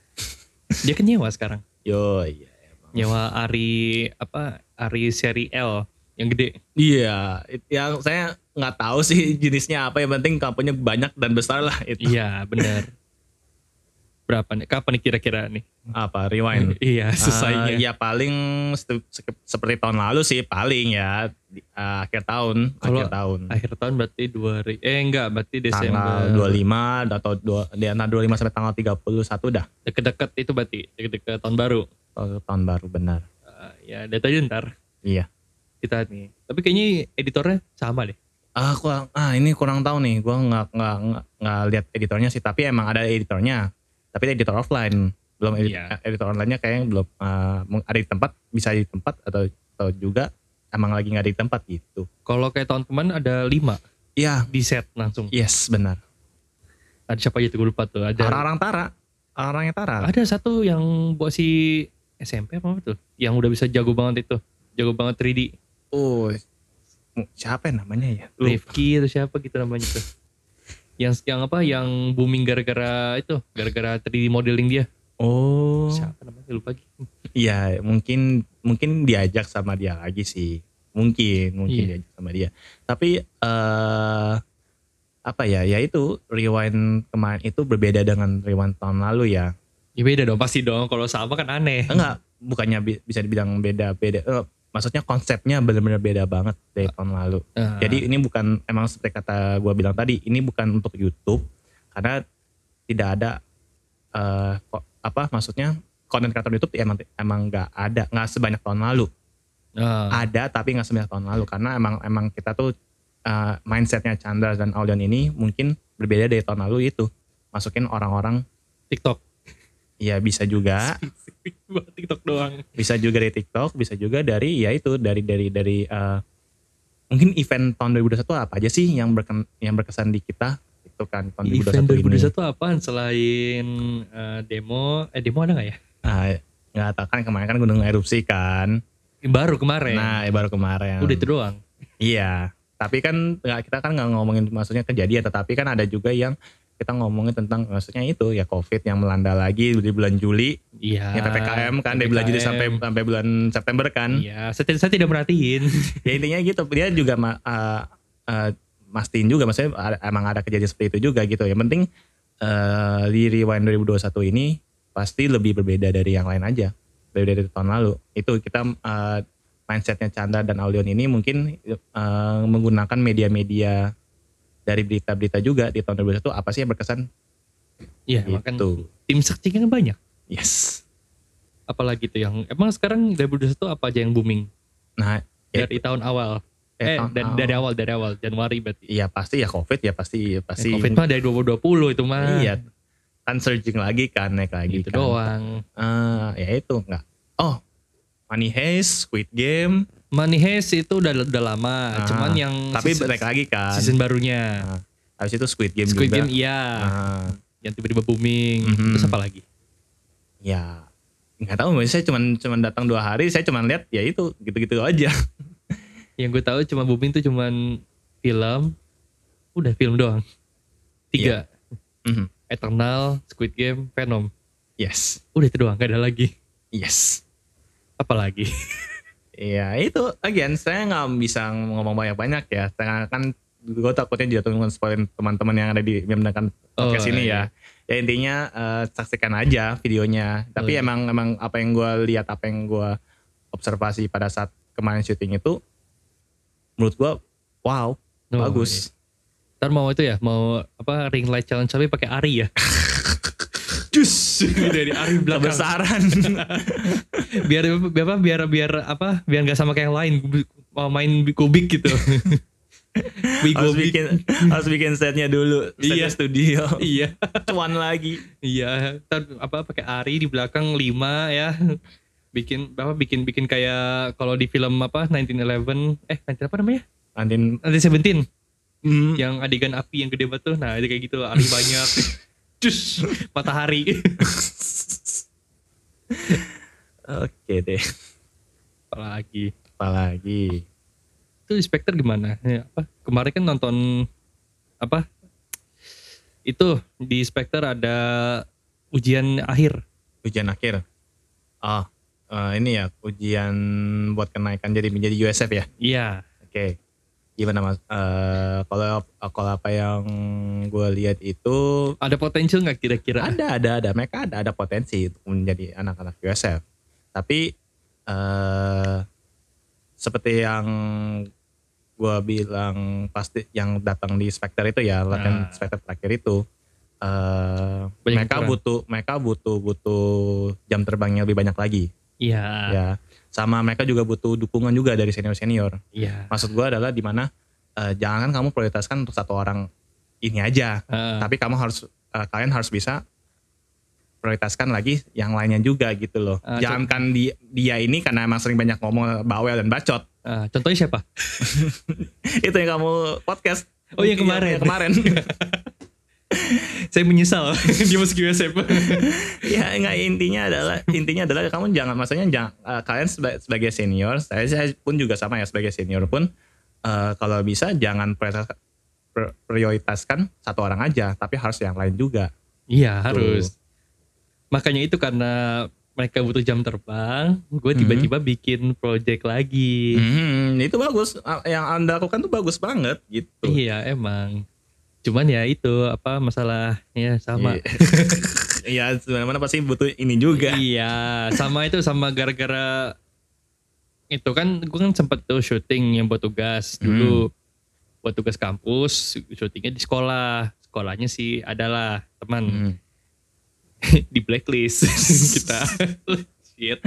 Dia kan nyewa sekarang.
Yo iya.
Nyewa Ari apa? Ari seri L yang gede.
Iya, it- yang saya nggak tahu sih jenisnya apa yang penting kampanye banyak dan besar lah itu.
Iya, benar. Berapa nih? Kapan nih kira-kira nih?
Apa rewind?
Iya,
Eh,
selesainya.
ya paling se- se- seperti tahun lalu sih paling ya di- eh, akhir tahun,
Kalau
akhir tahun.
Akhir tahun berarti dua hari. Eh enggak, berarti Desember.
Tanggal 25 atau dua, di antara 25 sampai tanggal 31 dah
Deket-deket itu berarti deket-deket tahun baru.
Eh, tahun baru benar.
Eh, ya, data aja ntar
Iya.
kita nih. Tapi kayaknya editornya sama deh.
Ah, kurang, ah ini kurang tahu nih. Gua nggak nggak nggak- nggak lihat editornya sih. Tapi emang ada editornya. Tapi editor offline belum edit- eh,
Iya.
editor online-nya kayaknya belum ah, mung- ada di tempat bisa di tempat atau atau juga emang lagi nggak ada di tempat gitu.
Kalau kayak tahun kemarin ada lima
Iya,
di set langsung.
yes benar.
Ada siapa aja tuh gue lupa tuh. Ada
Orang-orang Tara, orangnya Tara.
ada satu yang buat si SMP apa tuh? Yang udah bisa jago banget itu. Jago banget 3D.
Oh, mu- siapa ya namanya ya? Lupa.
Rifki atau siapa gitu namanya tuh. Yang yang apa yang booming gara-gara itu, gara-gara 3D modeling dia.
Oh,
Siapa namanya lupa lagi.
Iya, mungkin mungkin diajak sama dia lagi sih. Mungkin, mungkin
Iya.
diajak sama dia. Tapi eh apa ya? Ya itu rewind kemarin itu berbeda dengan rewind tahun lalu ya.
Ya beda dong pasti dong kalau sama kan aneh.
Enggak, bukannya bi- bisa dibilang beda-beda. Eh, maksudnya konsepnya benar-benar beda banget dari tahun lalu.
Nah,
Jadi ini bukan emang seperti kata gua bilang tadi, ini bukan untuk YouTube karena tidak ada eh, ko- apa maksudnya konten kreator YouTube ya emang emang nggak ada nggak sebanyak tahun lalu.
nah,
Ada tapi nggak sebanyak tahun lalu karena emang emang kita tuh eh, mindsetnya Chandra dan Aulion ini mungkin berbeda dari tahun lalu itu masukin orang-orang
TikTok.
ya bisa juga
Buat TikTok doang.
bisa juga dari TikTok bisa juga dari ya itu dari dari dari eh, mungkin event tahun 2021 apa aja sih yang berken, yang berkesan di kita itu kan tahun
Event
2021 ini
2021 apaan selain eh, demo? Eh demo ada nggak ya?
Ah, nggak tahu kan kemarin kan gunung erupsi kan
Baru kemarin.
nah baru kemarin
Udah itu doang.
Iya, tapi kan nggak- kita kan nggak ngomongin maksudnya kejadian, tetapi kan ada juga yang kita ngomongin tentang maksudnya itu ya COVID yang melanda lagi di bulan Juli,
Iya.
ya ppkm kan dari bulan Juli sampai
PPKM.
sampai bulan September kan.
Iya, saya, tidak- saya tidak merhatiin.
Ya intinya gitu, dia juga ma- eh, eh, mastiin juga, maksudnya ada- emang ada kejadian seperti itu juga gitu. Yang penting eh, di Rewind 2021 ini pasti lebih berbeda dari yang lain aja, berbeda dari tahun lalu. Itu kita eh, mindsetnya Chandra dan Aulion ini mungkin eh, menggunakan media-media dari berita-berita juga di tahun 2021 apa sih yang berkesan
Iya, makan
gitu.
tim searching kan banyak.
Yes.
Apalagi tuh yang emang sekarang 2021 apa aja yang booming
Nah, Ya,
dari tahun awal. Eh,
tahun
dan-
awal.
dari awal dari awal Januari berarti.
Iya pasti ya COVID ya pasti pasti
Eh, Covid mah dari 2020 itu mah.
Iya. Kan surging lagi kan naik lagi
Gitu
kan.
doang.
Eh, ya itu enggak. Oh, Money Heist, Squid Game,
Money Heist itu udah udah lama,
Ah,
cuman yang
tapi
Hmm, season,
naik lagi kan.
season barunya.
Habis itu Squid Game
Squid
juga.
Game iya,
Ah,
yang tiba-tiba booming.
Mhm.
Terus apa lagi?
ya nggak tahu saya cuman cuman datang dua hari saya cuman lihat ya itu gitu-gitu aja
Yang gue tahu cuma booming tuh cuman film, udah film doang. Tiga,
Mhm.
Eternal, Squid Game, Venom.
yes
Udah itu doang, gak ada lagi.
yes
Apalagi?
ya itu again saya nggak bisa ngomong banyak-banyak ya saya kan gue takutnya jatuhin spoiler teman-teman yang ada di yang mendengarkan
Oh,
podcast ini
iya.
ya. Ya intinya eh, saksikan aja videonya. Tapi
iya.
emang emang apa yang gua lihat, apa yang gua observasi pada saat kemarin syuting itu, menurut gua wow,
Oh,
bagus.
iya. Ntar mau itu ya, mau apa ring light challenge tapi pakai Ari ya.
Jus
iya. Dari Ari belakang.
kebesaran.
biar biar apa biar biar apa biar nggak sama kayak yang lain mau main kubik gitu.
harus
Bigobik.
bikin harus bikin setnya dulu. Setnya
Iya.
studio.
iya.
Cuan lagi.
Iya, ntar apa pakai Ari di belakang 5 ya. Bikin apa bikin bikin kayak kalau di film apa 1911 eh 19 apa namanya?
Andin
Nanti 17
mm,
yang adegan api yang gede banget tuh. Nah, itu kayak gitu Ari banyak. Cus, matahari.
Oke deh.
apalagi
Apalagi.
itu Spectre gimana? Ya, apa? Kemarin kan nonton apa? Itu di Spectre ada ujian akhir.
Ujian akhir. Ah, eh, ini ya ujian buat kenaikan jadi menjadi USF ya.
Iya.
Oke. Gimana Mas? Eh, kalau kalau apa yang gue lihat itu
Ada potensial nggak kira-kira?
ada ada ada mereka ada ada potensi untuk menjadi anak-anak USF tapi eh seperti yang gua bilang pasti yang datang di Spectre itu ya latihan
Ah.
Spectre terakhir itu eh
Banyak
mereka
kurang.
butuh mereka butuh butuh jam terbangnya lebih banyak lagi
Iya.
ya sama mereka juga butuh dukungan juga dari senior senior
Iya.
maksud gua adalah di mana eh, jangan kamu prioritaskan untuk satu orang ini aja
Heeh.
tapi kamu harus eh, kalian harus bisa prioritaskan lagi yang lainnya juga gitu loh.
Ah,
Jangan Jangankan di- dia ini karena emang sering banyak ngomong bawel dan bacot.
Ah, contohnya siapa?
Itu yang kamu podcast. ya,
Oh, yang kemarin.
Yang kemarin.
Saya menyesal dia masuk USF.
ya enggak intinya adalah intinya adalah kamu jangan maksudnya jangan eh, kalian seba- sebagai senior, saya, saya pun juga sama ya sebagai senior pun eh, kalau bisa jangan prioritas- pr- prioritaskan satu orang aja, tapi harus yang lain juga.
Iya harus. Makanya itu karena mereka butuh jam terbang, gue tiba-tiba bikin project lagi.
Hmm, itu bagus. Yang Anda lakukan tuh bagus banget gitu.
Iya emang. Cuman ya itu apa masalahnya sama.
Iya, mana-mana pasti butuh ini juga.
Iya, sama itu sama gara-gara itu kan gue kan sempet tuh syuting yang buat tugas
Hmm.
dulu, buat tugas kampus, syutingnya di sekolah, sekolahnya sih adalah teman
Hmm.
di blacklist kita. Shit.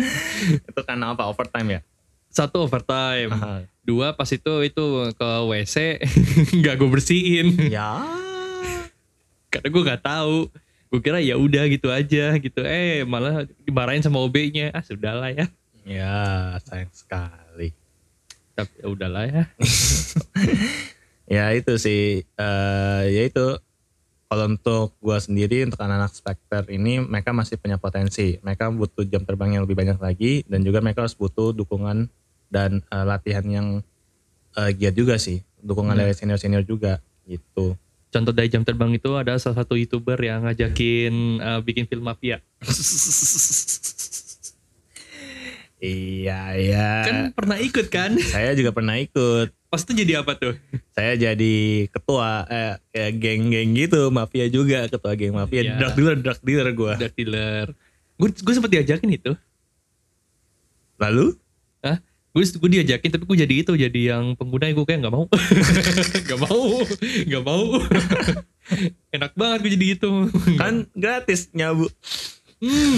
Itu karena apa? Overtime ya?
Satu overtime,
Aha.
dua pas itu itu ke WC nggak gue bersihin
ya.
karena gue nggak tahu. Gue kira ya udah gitu aja gitu. Eh malah dimarahin sama OB-nya. Ah sudahlah ya.
Ya, sayang sekali.
Tapi ya udahlah ya.
Ya itu sih, eh ya itu. Kalau untuk gua sendiri, untuk anak-anak Spectre ini, mereka masih punya potensi. Mereka butuh jam terbang yang lebih banyak lagi, dan juga mereka harus butuh dukungan dan eh, latihan yang eh, giat juga sih. Dukungan
Hmm.
dari senior-senior juga, gitu.
contoh dari jam terbang itu ada salah satu youtuber yang ngajakin eh, bikin film mafia
Iya, iya.
kan pernah ikut kan
Saya juga pernah ikut.
pas itu jadi apa tuh
Saya jadi ketua eh kayak geng-geng gitu, mafia juga, ketua geng mafia,
Iya.
drug dealer, drug dealer gua.
dark dealer gue gue sempet diajakin itu
Lalu
Hah? gue gue diajakin tapi gue jadi itu jadi yang pengguna gue kayak nggak mau nggak mau nggak mau enak banget gue jadi itu
kan gratis nyabu.
Hmm.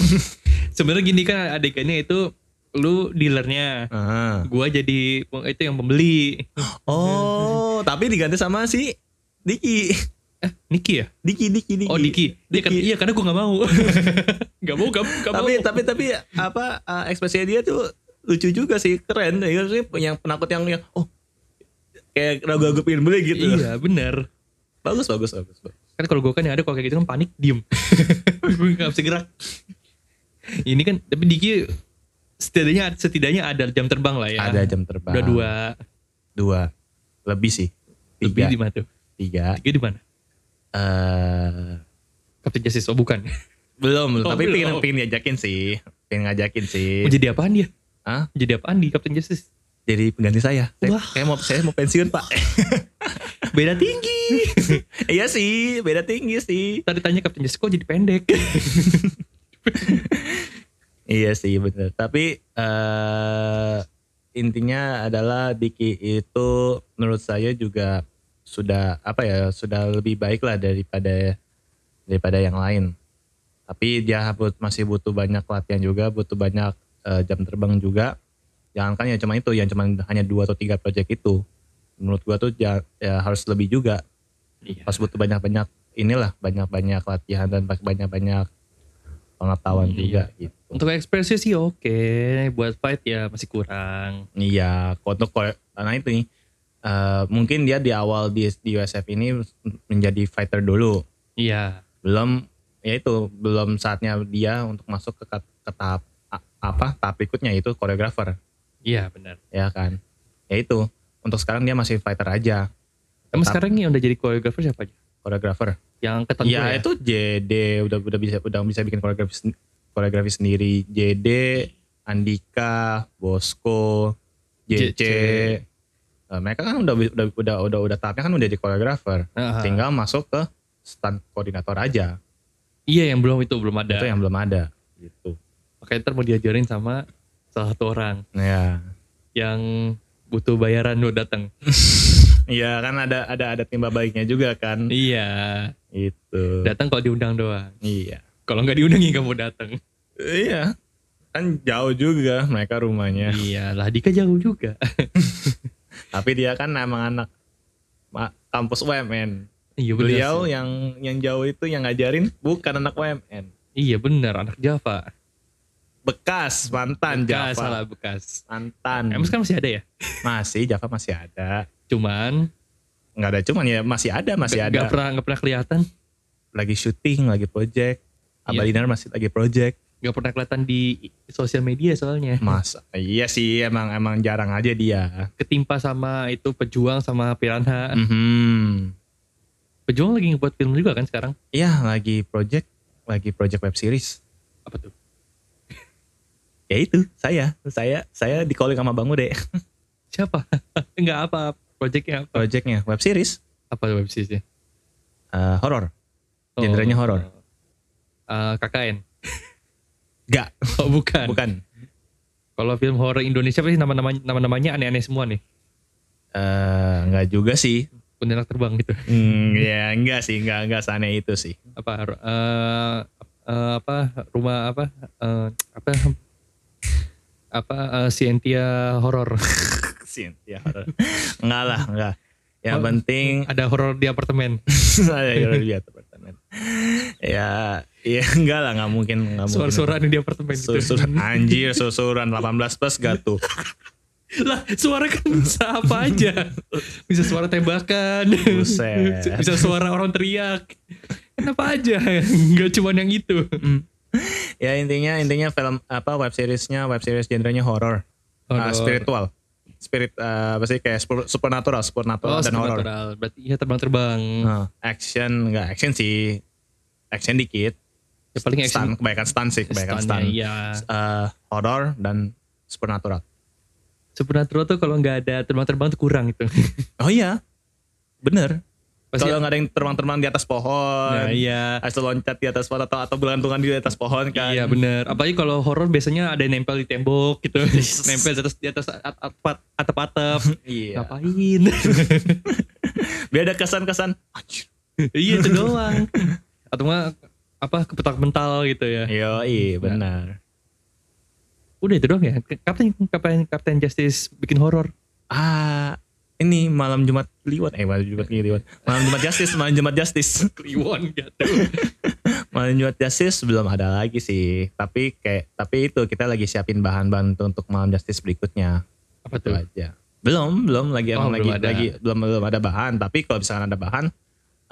sebenarnya gini kan adegannya itu lu dealernya
Ah.
gue jadi itu yang pembeli
Oh, tapi diganti sama si Diki.
eh Niki ya
Diki, Diki, Diki.
Oh Diki, dia kan
Diki.
iya karena gue nggak mau, nggak mau, nggak mau, nggak mau.
Tapi tapi tapi apa eh, ekspresinya dia tuh lucu juga sih, keren. Ya sih yang penakut yang yang oh kayak ragu-ragu pengen beli gitu.
iya benar.
Bagus, bagus, bagus, bagus.
Kan kalau gue kan yang ada kalau kayak gitu kan panik, diem, gue nggak bisa gerak. Ini kan tapi Diki setidaknya setidaknya ada jam terbang lah ya.
Ada jam terbang.
Udah dua
dua lebih sih
lebih
tiga
di mana tuh?
tiga
Tiga di mana?
Eh,
Captain Justice oh bukan.
belum
Oh,
tapi
belum.
pengen pengen diajakin sih pengen ngajakin
Mau
sih
jadi apaan dia?
Hah?
Mau Jadi apaan di Captain Justice?
jadi pengganti saya saya,
Wah.
saya mau saya mau pensiun pak
Beda tinggi.
iya sih beda tinggi sih
Tadi tanya Captain Justice kok jadi pendek.
iya sih bener tapi eh intinya adalah Diki itu menurut saya juga sudah apa ya sudah lebih baik lah daripada daripada yang lain tapi dia but- masih butuh banyak latihan juga butuh banyak eh, jam terbang juga jangankan ya cuma itu yang cuma hanya dua atau tiga project itu menurut gua tuh ja- ya harus lebih juga
Iya.
harus butuh banyak-banyak inilah banyak-banyak latihan dan banyak-banyak pengetahuan
Iya.
juga gitu
Untuk ekspresi sih oke, buat fight ya masih kurang.
Iya, untuk kore- karena itu nih. eh, mungkin dia di awal di, di USF ini menjadi fighter dulu.
Iya.
Belum ya itu belum saatnya dia untuk masuk ke, kat- ke tahap a- apa tahap berikutnya itu koreografer
Iya benar.
ya kan ya itu untuk sekarang dia masih fighter aja
Emang
Tetap-
sekarang yang udah jadi koreografer siapa aja?
koreografer
Yang angkatan
ya,
gue
itu JD udah udah bisa udah bisa bikin koreografi sen- koreografi sendiri JD Andika Bosco JC,
JC.
Eh, mereka kan udah udah udah udah udah tahapnya kan udah jadi koreografer
Aha.
tinggal masuk ke stand koordinator aja
Iya yang belum itu belum ada.
itu yang belum ada gitu
Makanya ntar mau diajarin sama salah satu orang
Nah, ya
yang butuh bayaran lo datang.
Iya kan ada ada ada timba baiknya juga kan
Iya.
itu
Datang kalau diundang doang.
iya
Kalau nggak diundang ya nggak mau datang.
iya kan jauh juga mereka rumahnya
Iya lah Dika jauh juga.
tapi dia kan emang anak ma- kampus UMN
iya benar.
beliau ya.
sih.
yang yang jauh itu yang ngajarin bukan anak UMN
Iya benar anak Java.
bekas mantan
Bekas,
Java Hmm.
Salah bekas.
mantan
Emang sekarang masih ada ya?
masih Java masih ada
Cuman
nggak ada cuman ya masih ada masih
nggak-
ada
nggak pernah nggak pernah kelihatan,
lagi syuting lagi project
Iya.
Abah Dinar masih lagi project
nggak pernah kelihatan di sosial media soalnya.
Mas iya sih emang emang jarang aja dia
Ketimpa sama itu pejuang sama Piranha.
Mhm.
Pejuang lagi ngebuat film juga kan sekarang?
iya lagi project lagi project web series
Apa tuh?
ya itu saya saya saya di calling sama Bang Ude
Siapa? nggak apa projectnya apa?
projectnya web series
Apa web seriesnya? Oh.
eh, horor Genrenya horor.
Eh, KKN.
Gak,
Oh bukan.
bukan.
Kalau film horor Indonesia pasti nama-namanya nama-namanya aneh-aneh semua nih.
eh nggak juga sih.
Kuntilanak terbang gitu.
Hmm, ya enggak sih, enggak enggak sana itu sih.
apa ru- eh, eh, apa rumah apa eh, apa apa eh, Scientia horor
Sin, ya. enggak lah, enggak. Yang
Oh.
penting
ada horor di apartemen
saya kira dia apartemen. Ya, ya enggak lah, enggak mungkin, enggak mungkin.
suara-suara di apartemen gitu
Susuran anjir, susuran 18 plus gak tuh.
lah suara kan bisa apa aja bisa suara tembakan
Buset.
bisa suara orang teriak kenapa aja nggak cuma yang itu
Ya intinya intinya film apa web seriesnya web series genrenya horor. Ah,
Horor.
spiritual. Spirit eh, apa sih kayak spur- supernatural, supernatural
oh
dan horor.
supernatural berarti ya terbang-terbang
Nah, action nggak action sih action dikit
ya paling action
stun kebanyakan stun sih kebanyakan
stunnya,
stun
iya.
Eh, horror dan supernatural
supernatural tuh kalau nggak ada terbang-terbang tuh kurang itu
oh iya bener
Pasti-
kalau nggak ada yang terbang-terbang di atas pohon
Nah, iya
atau loncat di atas pohon atau atau bergantungan di atas pohon kan
Iya bener, apalagi kalau horor biasanya ada yang nempel di tembok gitu, nempel di atas di atas at- at- atap-atap,
Iya.
ngapain?
biar ada kesan-kesan anjir
iya itu doang. Atau nggak apa kepetak mental gitu ya?
yo bener
Udah itu doang ya. Kapten Kapten Kapten Justice bikin horor.
ah ini malam Jumat Kliwon eh malam Jumat Kliwon malam Jumat Justice malam Jumat Justice
Kliwon gitu.
Malam Jumat Justice belum ada lagi sih, tapi kayak tapi itu kita lagi siapin bahan-bahan untuk, untuk malam Justice berikutnya.
apa
Itu
tuh?
Gitu aja. Belum, belum lagi
Oh,
emang lagi
belum ada.
lagi belum belum ada bahan, tapi kalau misalkan ada bahan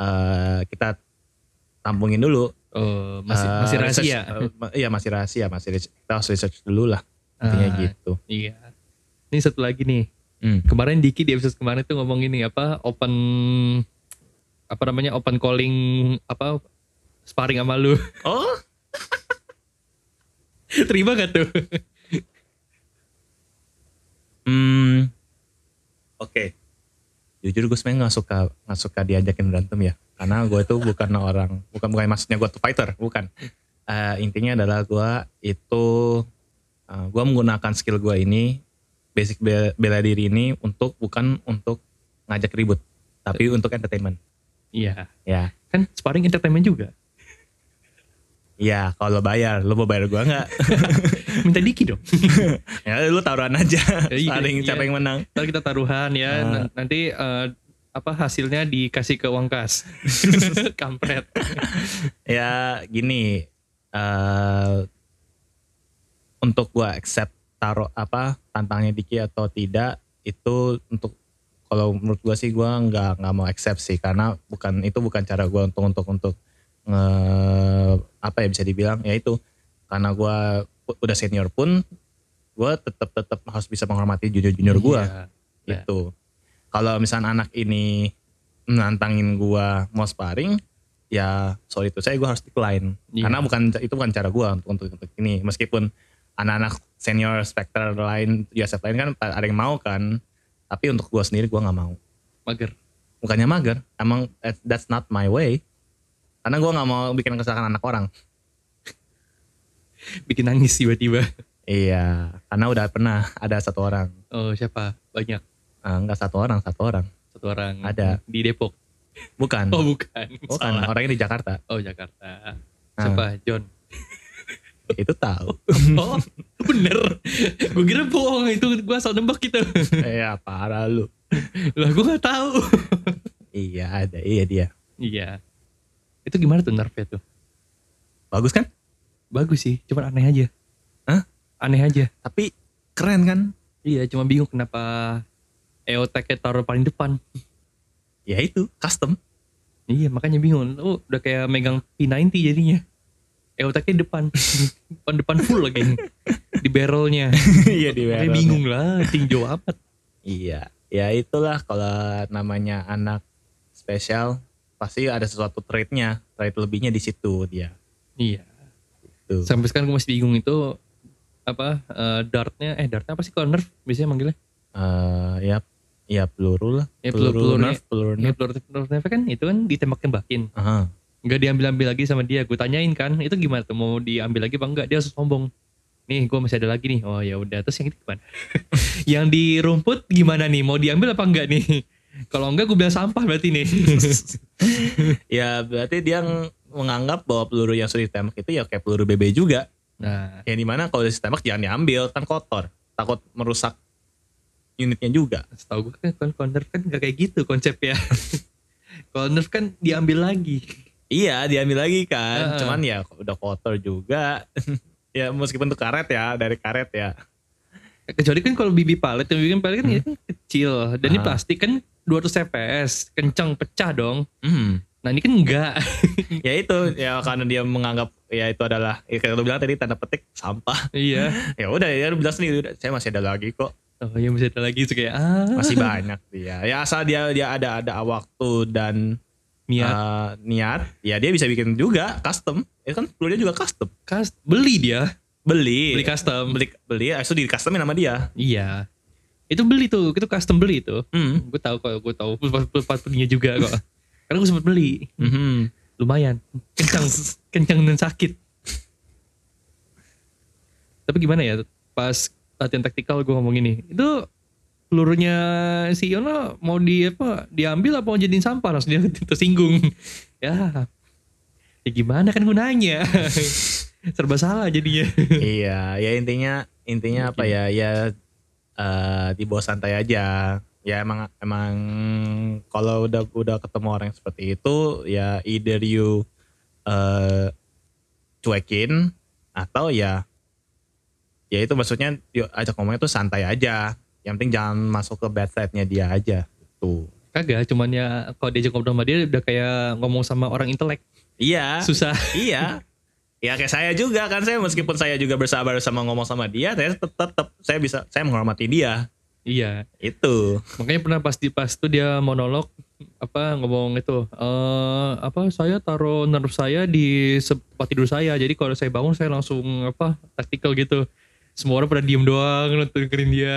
eh kita tampungin dulu.
Oh, masih
Eh,
masih
research-
rahasia.
eh, ma- iya, masih rahasia, masih research, kita harus research dulu lah. Intinya
Ah.
gitu.
Iya. Ini satu lagi nih.
Hmm.
Kemarin Diki di episode kemarin tuh ngomong ini apa open apa namanya open calling apa sparring sama lu.
Oh,
Terima gak tuh?
hmm. Oke. Jujur gue sebenarnya nggak suka nggak suka diajakin berantem ya, karena gue itu bukan orang bukan bukan maksudnya gue tuh fighter, bukan. Eh, intinya adalah gue itu eh, gue menggunakan skill gue ini basic be- bela diri ini untuk bukan untuk ngajak ribut, tapi untuk entertainment.
Iya.
Ya,
Kan sparring entertainment juga.
ya kalau bayar, lo mau bayar gue nggak?
Minta Diki dong.
ya lu taruhan aja,
Iya,
saling siapa
iya.
yang menang.
Ntar kita taruhan ya.
Ah.
N- Nanti eh, apa hasilnya dikasih ke uang kas. Kampret.
Ya gini eh untuk gua accept taruh apa tantangnya Diki atau tidak itu untuk kalau menurut gua sih gua nggak nggak mau accept sih karena bukan itu bukan cara gua untuk untuk untuk nge- apa ya bisa dibilang ya itu karena gua pu- udah senior pun gue tetap tetap harus bisa menghormati junior junior gue
Iya. Iya.
gitu. Kalau misalnya anak ini nantangin gua mau sparring, ya sorry itu saya gua harus decline.
Iya.
Karena bukan itu bukan cara gua untuk, untuk, untuk ini. Meskipun anak-anak senior specter lain, USF lain kan ada yang mau kan, tapi untuk gua sendiri gua nggak mau.
Mager.
Bukannya mager, emang that- that's not my way. Karena gua nggak mau bikin kesalahan anak orang.
Bikin nangis tiba-tiba.
Iya, karena udah pernah ada satu orang,
Oh siapa? Banyak.
Ah, nggak satu orang, satu orang.
Satu orang.
Ada.
Di Depok.
Bukan,
Oh bukan.
bukan
Salah.
orangnya di Jakarta.
Oh Jakarta.
Ah.
Siapa? John.
Itu tahu.
Oh bener. gue kira bohong itu gue asal nembak gitu.
Iya parah lu.
lah gue nggak tahu.
Iya ada, iya dia.
Iya. Itu gimana tuh nerfnya tuh?
Bagus kan?
Bagus sih. Cuman aneh aja.
Hah?
Aneh aja.
Tapi keren kan?
Iya, cuma bingung kenapa EOTech taruh paling depan.
Ya itu, custom.
Iya, makanya bingung. Oh, udah kayak megang P90 jadinya. EOTech depan. Depan-depan full lagi. Di barrelnya.
Iya di
Makanya bingung lah, tinjau amat.
Iya, ya itulah kalau namanya anak spesial pasti ada sesuatu trade-nya, trade lebihnya di situ dia.
Iya.
Tuh.
Sampai sekarang gue masih bingung itu apa eh, dartnya eh dartnya apa sih kalau nerf biasanya manggilnya
Eh, ya, ya peluru lah.
Ya, peluru- peluru
nerf, peluru
nerf
nerf.
nerf nerf nerf kan itu kan ditembak tembakin
Aha.
nggak diambil ambil lagi sama dia gue tanyain kan itu gimana tuh mau diambil lagi apa enggak dia harus sombong nih gue masih ada lagi nih oh ya udah terus yang itu gimana yang di rumput gimana nih mau diambil apa enggak nih kalau enggak gue bilang sampah berarti nih
Ya berarti dia ng- menganggap bahwa peluru yang sudah ditembak itu ya kayak peluru BB juga.
nah
Yang dimana kalau ditembak jangan diambil, kan kotor. Takut merusak unitnya juga.
setahu gue kan kalau kalau nerf kan nggak kayak gitu konsepnya kalau nerf kan diambil lagi
Iya diambil lagi
Heeh.
kan Cuman ya udah kotor juga Ya meskipun itu karet ya Dari karet ya
kecuali kan kalau bibi palet yang bikin palet kan
Hmm.
ini kan kecil dan ini
Ah.
plastik kan 200 cps kencang pecah dong
Hmm.
nah ini kan enggak
Ya itu Ya karena dia menganggap Ya itu adalah ya, Kayak lu bilang tadi tanda petik Sampah
iya
Ya udah ya lu bilang sendiri "Udah, Saya masih ada lagi kok
oh ya masih ada lagi tuh kayak ah
Masih banyak dia Ya asal dia dia ada ada waktu dan
niat
eh, niat Ya dia bisa bikin juga Custom Itu kan pelurunya juga custom
Kas- beli dia
Beli
beli custom
Beli Beli Itu di customin sama dia
iya itu beli tuh itu custom beli itu
Hmm.
gue tahu kok gue tahu sepatunya juga kok karena gue sempat beli
Mhm.
lumayan kencang kencang dan sakit tapi gimana ya pas latihan taktikal gue ngomong ini itu pelurunya si Yono mau di apa diambil apa mau jadiin sampah langsung dia tersinggung ya ya gimana kan gunanya serba salah jadinya
iya ya intinya intinya apa ya ya eh di bawah santai aja ya emang emang kalau udah udah ketemu orang yang seperti itu ya either you eh cuekin atau ya ya itu maksudnya yuk ajak ngomongnya tuh santai aja yang penting jangan masuk ke bad side-nya dia aja gitu. tuh
kagak cuman ya kalau diajak ngobrol sama dia udah kayak ngomong sama orang intelek
iya
susah
iya ya kayak saya juga kan saya meskipun saya juga bersabar sama ngomong sama dia saya tetap tetap saya bisa saya menghormati dia
iya
itu
Makanya pernah pas di pas tuh dia monolog apa ngomong itu eh apa saya taruh nerf saya di tempat tidur saya jadi kalau saya bangun saya langsung apa taktikal gitu semua orang pada diem doang nonton dengerin dia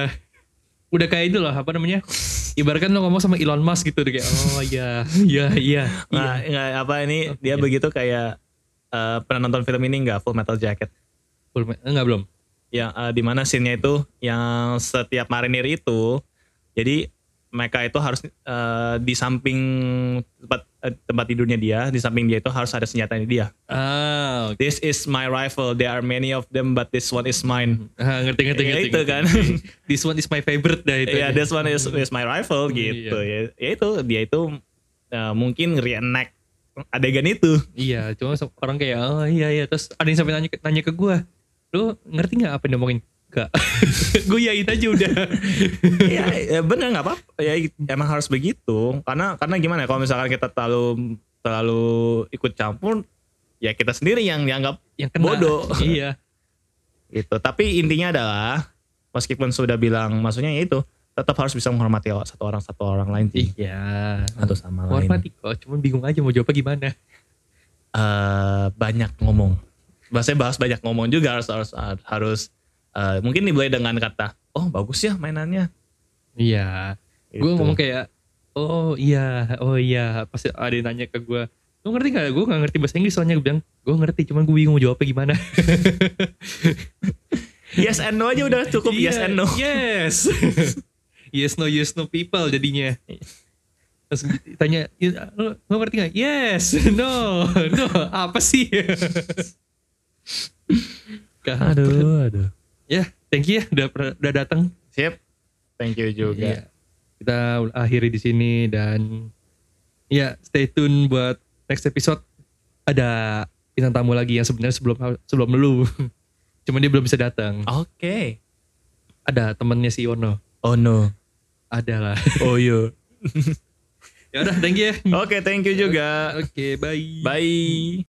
udah kayak itu lah apa namanya ibaratkan lo ngomong sama Elon Musk gitu dia kayak oh iya iya iya iya
nggak nggak apa ini
Oh,
dia
iya.
begitu kayak eh, pernah nonton film ini nggak Full Metal Jacket
Belum- eh, enggak belum
yang eh, di mana scene-nya itu yang setiap marinir itu jadi mereka itu harus eh, di samping tempat eh, tempat tidurnya dia di samping dia itu harus ada senjatanya dia
ah oke.
this is my rifle there are many of them but this one is mine
Ah, ngerti ngerti
Ya,
ngerti
itu
ngerti,
kan.
ngerti. this one is my favorite dah itu Iya.
Ya, this one is, is my rifle gitu. Ya, ya itu dia itu eh, mungkin reenact adegan itu.
Iya, cuma se- orang kayak oh iya iya terus ada yang sampai nanya ke- nanya ke gua, "Lu ngerti nggak apa yang diomongin?" Enggak. gua yain aja udah.
Iya, ya bener nggak apa-apa. Ya emang harus begitu. Karena karena gimana? ya, Kalau misalkan kita terlalu terlalu ikut campur, ya kita sendiri yang dianggap
yang kena.
Bodoh.
Iya.
Gitu. Tapi intinya adalah meskipun sudah bilang maksudnya ya itu tetap harus bisa menghormati satu orang satu orang lain sih.
Iya.
Satu sama lain.
Hormati kok, cuman bingung aja mau jawabnya gimana.
Eh, banyak ngomong. Bahasanya bahas banyak ngomong juga harus harus harus eh, mungkin dimulai dengan kata, "Oh, bagus ya mainannya."
Iya. Gue
Gitu.
ngomong kayak, oh iya, oh iya. Pasti ada yang nanya ke gue, lu ngerti gak? Gue gak ngerti bahasa Inggris soalnya gue bilang, gue ngerti cuman gue bingung mau jawabnya gimana.
yes and no aja udah cukup
Iya,
yes and no.
Yes. yes no, yes no people jadinya. Terus tanya, lu, lu ngerti gak? Yes, no, no, apa sih? Aduh.
aduh.
Ya, thank you ya udah, per- udah datang.
Sip. Thank you juga.
Iya. Kita akhiri di sini dan ya stay tune buat next episode ada bintang tamu lagi yang sebenarnya sebelum sebelum lu. Cuman dia belum bisa datang.
Oke.
Ada temennya si Ono.
Oh no.
Ada lah.
Oh yo.
ya udah, thank you ya.
Oke, thank you juga.
Oke, bye.
Bye.